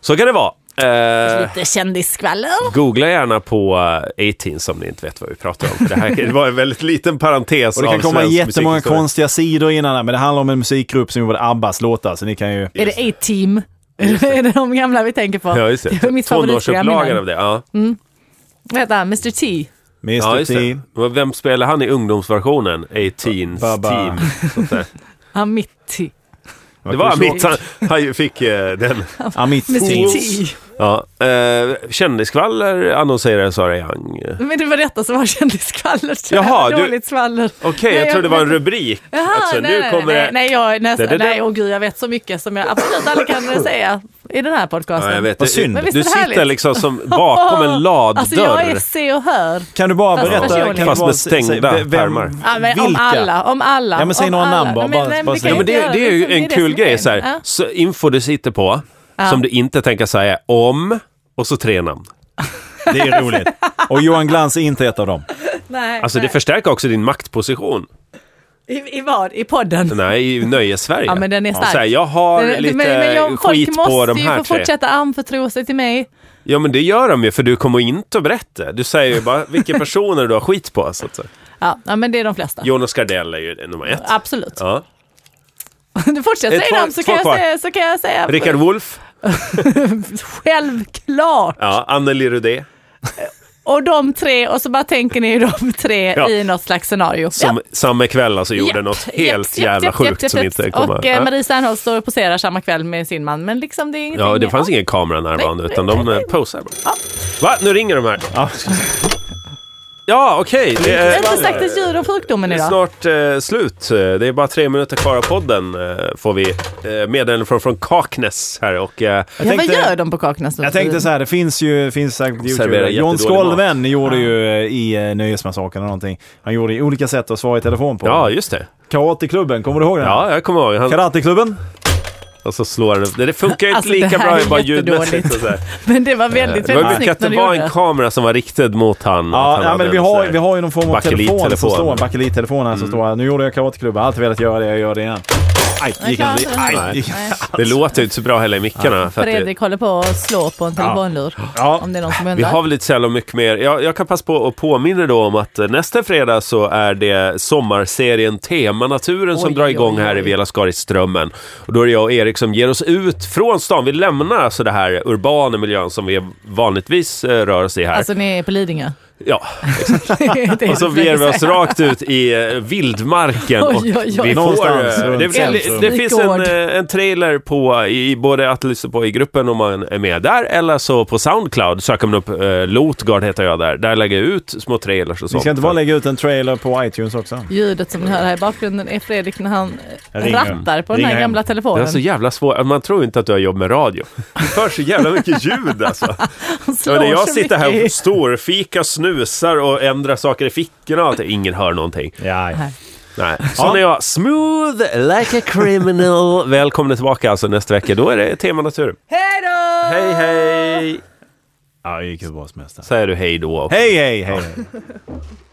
Speaker 3: Så kan det vara. Eh,
Speaker 4: Lite kändisskvaller.
Speaker 3: googla gärna på eh, 18 som ni inte vet vad vi pratar om. Det, här, det var en väldigt liten parentes
Speaker 2: Och det kan
Speaker 3: av
Speaker 2: komma
Speaker 3: svensk
Speaker 2: jättemånga
Speaker 3: musikhistoria.
Speaker 2: konstiga sidor innan där, men det handlar om en musikgrupp som gjorde Abbas låtar så ni kan ju...
Speaker 4: Är det A-team? är det de gamla vi tänker på?
Speaker 3: Ja, just det.
Speaker 4: det var mitt favoritprogram
Speaker 3: Tonårsupplagan av
Speaker 4: innan.
Speaker 3: det. Ja.
Speaker 4: Vad heter han? Mr T.
Speaker 2: Mr
Speaker 3: Ja, just
Speaker 2: T.
Speaker 3: det. Och Vem spelar han i ungdomsversionen? 18
Speaker 2: Baba.
Speaker 3: team. Sånt där.
Speaker 4: Amitti.
Speaker 3: Det var
Speaker 2: kul.
Speaker 3: mitt. Han, han fick eh, den.
Speaker 2: Amit
Speaker 4: Mr
Speaker 2: T.
Speaker 4: T.
Speaker 3: Ja, eh, kändisskvaller annonserade Sara Young.
Speaker 4: Men det var detta som var kändisskvallret.
Speaker 3: Jaha, du-
Speaker 4: Dåligt skvaller.
Speaker 3: Okej,
Speaker 4: Nej,
Speaker 3: jag
Speaker 4: jag-
Speaker 3: trodde det var en rubrik.
Speaker 4: Jaha,
Speaker 3: alltså,
Speaker 4: nej,
Speaker 3: nu
Speaker 4: nej,
Speaker 3: kommer
Speaker 4: nej,
Speaker 3: det...
Speaker 4: nej, jag, nej,
Speaker 3: Det- det-
Speaker 4: nej, åh gud, jag vet så mycket som jag absolut aldrig kan säga i den här podcasten.
Speaker 3: Ja, jag vet.
Speaker 2: Vad
Speaker 3: Du-
Speaker 2: synd. Men
Speaker 4: visst
Speaker 3: Du
Speaker 4: är det
Speaker 3: sitter
Speaker 4: härligt?
Speaker 3: liksom som bakom en laddörr.
Speaker 4: Alltså jag är se och hör.
Speaker 2: Kan du bara
Speaker 4: Fast
Speaker 2: berätta?
Speaker 4: personligen.
Speaker 2: Kan du
Speaker 3: Fast
Speaker 2: bara
Speaker 3: med
Speaker 2: se- se-
Speaker 3: stängda
Speaker 2: vem-
Speaker 3: pärmar.
Speaker 4: Ja, men om
Speaker 2: vilka?
Speaker 4: alla, om alla.
Speaker 2: Ja, men säg
Speaker 4: om
Speaker 2: några
Speaker 4: alla.
Speaker 2: namn bara,
Speaker 4: Nej,
Speaker 2: bara-
Speaker 4: men, nej,
Speaker 2: bara
Speaker 4: men, vi
Speaker 2: säg.
Speaker 3: Ja,
Speaker 4: kan ju
Speaker 3: men
Speaker 4: inte
Speaker 3: det,
Speaker 4: göra
Speaker 3: det är
Speaker 4: liksom,
Speaker 3: ju en
Speaker 4: det
Speaker 3: kul
Speaker 4: som är
Speaker 3: grej.
Speaker 4: grejen.
Speaker 3: Så här.
Speaker 4: Ja.
Speaker 3: Så info du sitter på, som du inte tänker säga om, och så tre namn.
Speaker 2: Det är roligt. Och Johan Glans är inte ett av dem.
Speaker 4: Nej,
Speaker 3: Alltså det
Speaker 4: nej.
Speaker 3: förstärker också din maktposition.
Speaker 4: I, I vad? I podden?
Speaker 3: Nej, i Nöjes-Sverige.
Speaker 4: Ja, men den är stark.
Speaker 3: så här, jag har
Speaker 4: Men-
Speaker 3: lite
Speaker 4: men, men jag,
Speaker 3: skit
Speaker 4: folk
Speaker 3: på
Speaker 4: måste
Speaker 3: de
Speaker 4: ju
Speaker 3: här
Speaker 4: få
Speaker 3: tre.
Speaker 4: fortsätta anförtro sig till mig.
Speaker 3: Ja, men det gör de ju, för du kommer inte att berätta. Du säger ju bara vilka personer du har skit på. Så att, säga.
Speaker 4: Ja, ja men det är de flesta.
Speaker 3: Jonas Gardell är ju nummer ett.
Speaker 4: Absolut.
Speaker 3: Ja.
Speaker 4: Du fortsätter
Speaker 3: Ett,
Speaker 4: säga dem
Speaker 3: två-
Speaker 4: så kan, jag
Speaker 3: två kvar.
Speaker 4: säga, så kan jag säga
Speaker 3: Rickard Wolff,
Speaker 4: självklart.
Speaker 3: ja, Anneli Rudé,
Speaker 4: Och de tre och så bara tänker ni de tre
Speaker 3: Ja.
Speaker 4: i något slags scenario.
Speaker 3: som samma kväll alltså gjorde
Speaker 4: Japp,
Speaker 3: något
Speaker 4: japp,
Speaker 3: helt
Speaker 4: japp,
Speaker 3: jävla
Speaker 4: japp,
Speaker 3: sjukt
Speaker 4: japp, japp,
Speaker 3: som
Speaker 4: japp.
Speaker 3: inte kommer...
Speaker 4: Och eh, Marie Serneholt står och poserar samma kväll med sin man, men liksom det är ingenting.
Speaker 3: ja, det
Speaker 4: mer.
Speaker 3: fanns ingen kamera närvarande,
Speaker 4: Nej,
Speaker 3: utan de
Speaker 4: nej,
Speaker 3: eh,
Speaker 4: nej.
Speaker 3: posar bara. Va? Nu ringer de här.
Speaker 2: Ja.
Speaker 3: Ja, okej. Det
Speaker 4: Jag
Speaker 3: är,
Speaker 4: har inte sagt ett djur om sjukdomen
Speaker 3: det är
Speaker 4: idag.
Speaker 3: snart eh, slut. Eh, Det är bara tre minuter kvar av podden, eh, får vi eh, meddelande från, från Kaknäs här. Och, eh,
Speaker 4: Ja, vad
Speaker 2: tänkte-
Speaker 4: gör de på Kaknäs nu?
Speaker 2: Jag tänkte så här, det finns ju, finns säkert på
Speaker 3: Serverar
Speaker 2: YouTube. John
Speaker 3: jättedålig
Speaker 2: Skolven gjorde ju eh, i eh, Nöjesmassakern eller någonting. Han gjorde ju olika sätt att svara i telefon på.
Speaker 3: ja, just det.
Speaker 2: Karateklubben, kommer du ihåg den?
Speaker 3: Ja, jag kommer ihåg. Han,
Speaker 2: Karateklubben?
Speaker 3: och så slår han upp. Det funkar ju inte
Speaker 4: Alltså, det
Speaker 3: lika
Speaker 4: här
Speaker 3: bra
Speaker 4: är
Speaker 3: bara
Speaker 4: jättedåligt.
Speaker 3: ljudmässigt. och så här.
Speaker 4: Men det var väldigt,
Speaker 3: Det var
Speaker 4: väldigt
Speaker 3: mycket att
Speaker 4: snyggt när
Speaker 3: det
Speaker 4: du
Speaker 3: var
Speaker 4: gjorde
Speaker 3: en
Speaker 4: det.
Speaker 3: kamera som var riktad mot han. att
Speaker 2: Ja,
Speaker 3: han
Speaker 2: ja
Speaker 3: hade
Speaker 2: men
Speaker 3: en
Speaker 2: vi
Speaker 3: sån
Speaker 2: har,
Speaker 3: här-
Speaker 2: vi har ju någon form av telefon som
Speaker 3: Bakelittelefon. Mm.
Speaker 2: står, en bakelittelefon här som står här. Nu gjorde jag karateklubben, alltid velat göra det, jag gör det igen. Aj,
Speaker 4: Jag
Speaker 2: gick
Speaker 4: klarar
Speaker 2: inte.
Speaker 4: inte det.
Speaker 2: Aj, gick inte.
Speaker 4: Nej.
Speaker 3: Det låter ju inte så bra heller i mickarna. för att det-
Speaker 4: Fredrik håller på att slå på en telefonlur.
Speaker 2: Ja.
Speaker 4: Om det är någon som
Speaker 3: Vi
Speaker 4: undrar.
Speaker 3: har väl inte så jävla mycket mer. Jag, jag kan passa på och påminna då om att eh, nästa fredag så är det sommarserien Tema naturen som
Speaker 4: Oj,
Speaker 3: drar igång
Speaker 4: oj,
Speaker 3: här
Speaker 4: oj.
Speaker 3: i Velascaris-strömmen. Och då är det jag och Erik som ger oss ut från stan. Vi lämnar alltså den här urbana miljön som vi vanligtvis eh, rör oss i här.
Speaker 4: Alltså ni är på Lidingö.
Speaker 3: ja.
Speaker 4: Det är det
Speaker 3: Och så
Speaker 4: jag försöker
Speaker 3: ger vi oss
Speaker 4: säga.
Speaker 3: rakt ut i eh, vildmarken.
Speaker 4: Oj,
Speaker 3: och
Speaker 4: oj, oj.
Speaker 3: Vi får,
Speaker 2: Någonstans
Speaker 3: eh,
Speaker 2: runt
Speaker 3: det, det,
Speaker 2: centrum.
Speaker 3: det finns en,
Speaker 4: Gård.
Speaker 3: eh, en trailer på, i, både att lyssna på i gruppen om man är med där, eller så på Soundcloud söker man upp eh, Lotgard heter jag där. Där lägger jag ut små trailers och sånt.
Speaker 2: Vi ska inte bara lägga ut en trailer på iTunes också?
Speaker 4: Ljudet som ni hör här i bakgrunden är Fredrik när han eh,
Speaker 2: Jag ringer.
Speaker 4: rattar på den
Speaker 2: Ringer
Speaker 4: här
Speaker 2: hem.
Speaker 4: gamla
Speaker 3: det är
Speaker 4: telefonen.
Speaker 3: så jävla svårt, man tror inte att du har jobb med radio. Det förs så jävla mycket ljud alltså.
Speaker 4: Han
Speaker 3: Ja,
Speaker 4: slår
Speaker 3: när jag
Speaker 4: så
Speaker 3: sitter här och
Speaker 4: mycket.
Speaker 3: storfika, snusar och ändrar saker i fickorna och allt, ingen hör någonting.
Speaker 2: Ja,
Speaker 4: Nej.
Speaker 3: Nej. Sån är jag. Smooth like a criminal. Välkomna tillbaka alltså nästa vecka. Då är det tema natur.
Speaker 4: Hej då!
Speaker 3: Hej hej!
Speaker 2: ja det gick ju bra som helst. där.
Speaker 3: Säger du hej då?
Speaker 2: Hej, hej, hej!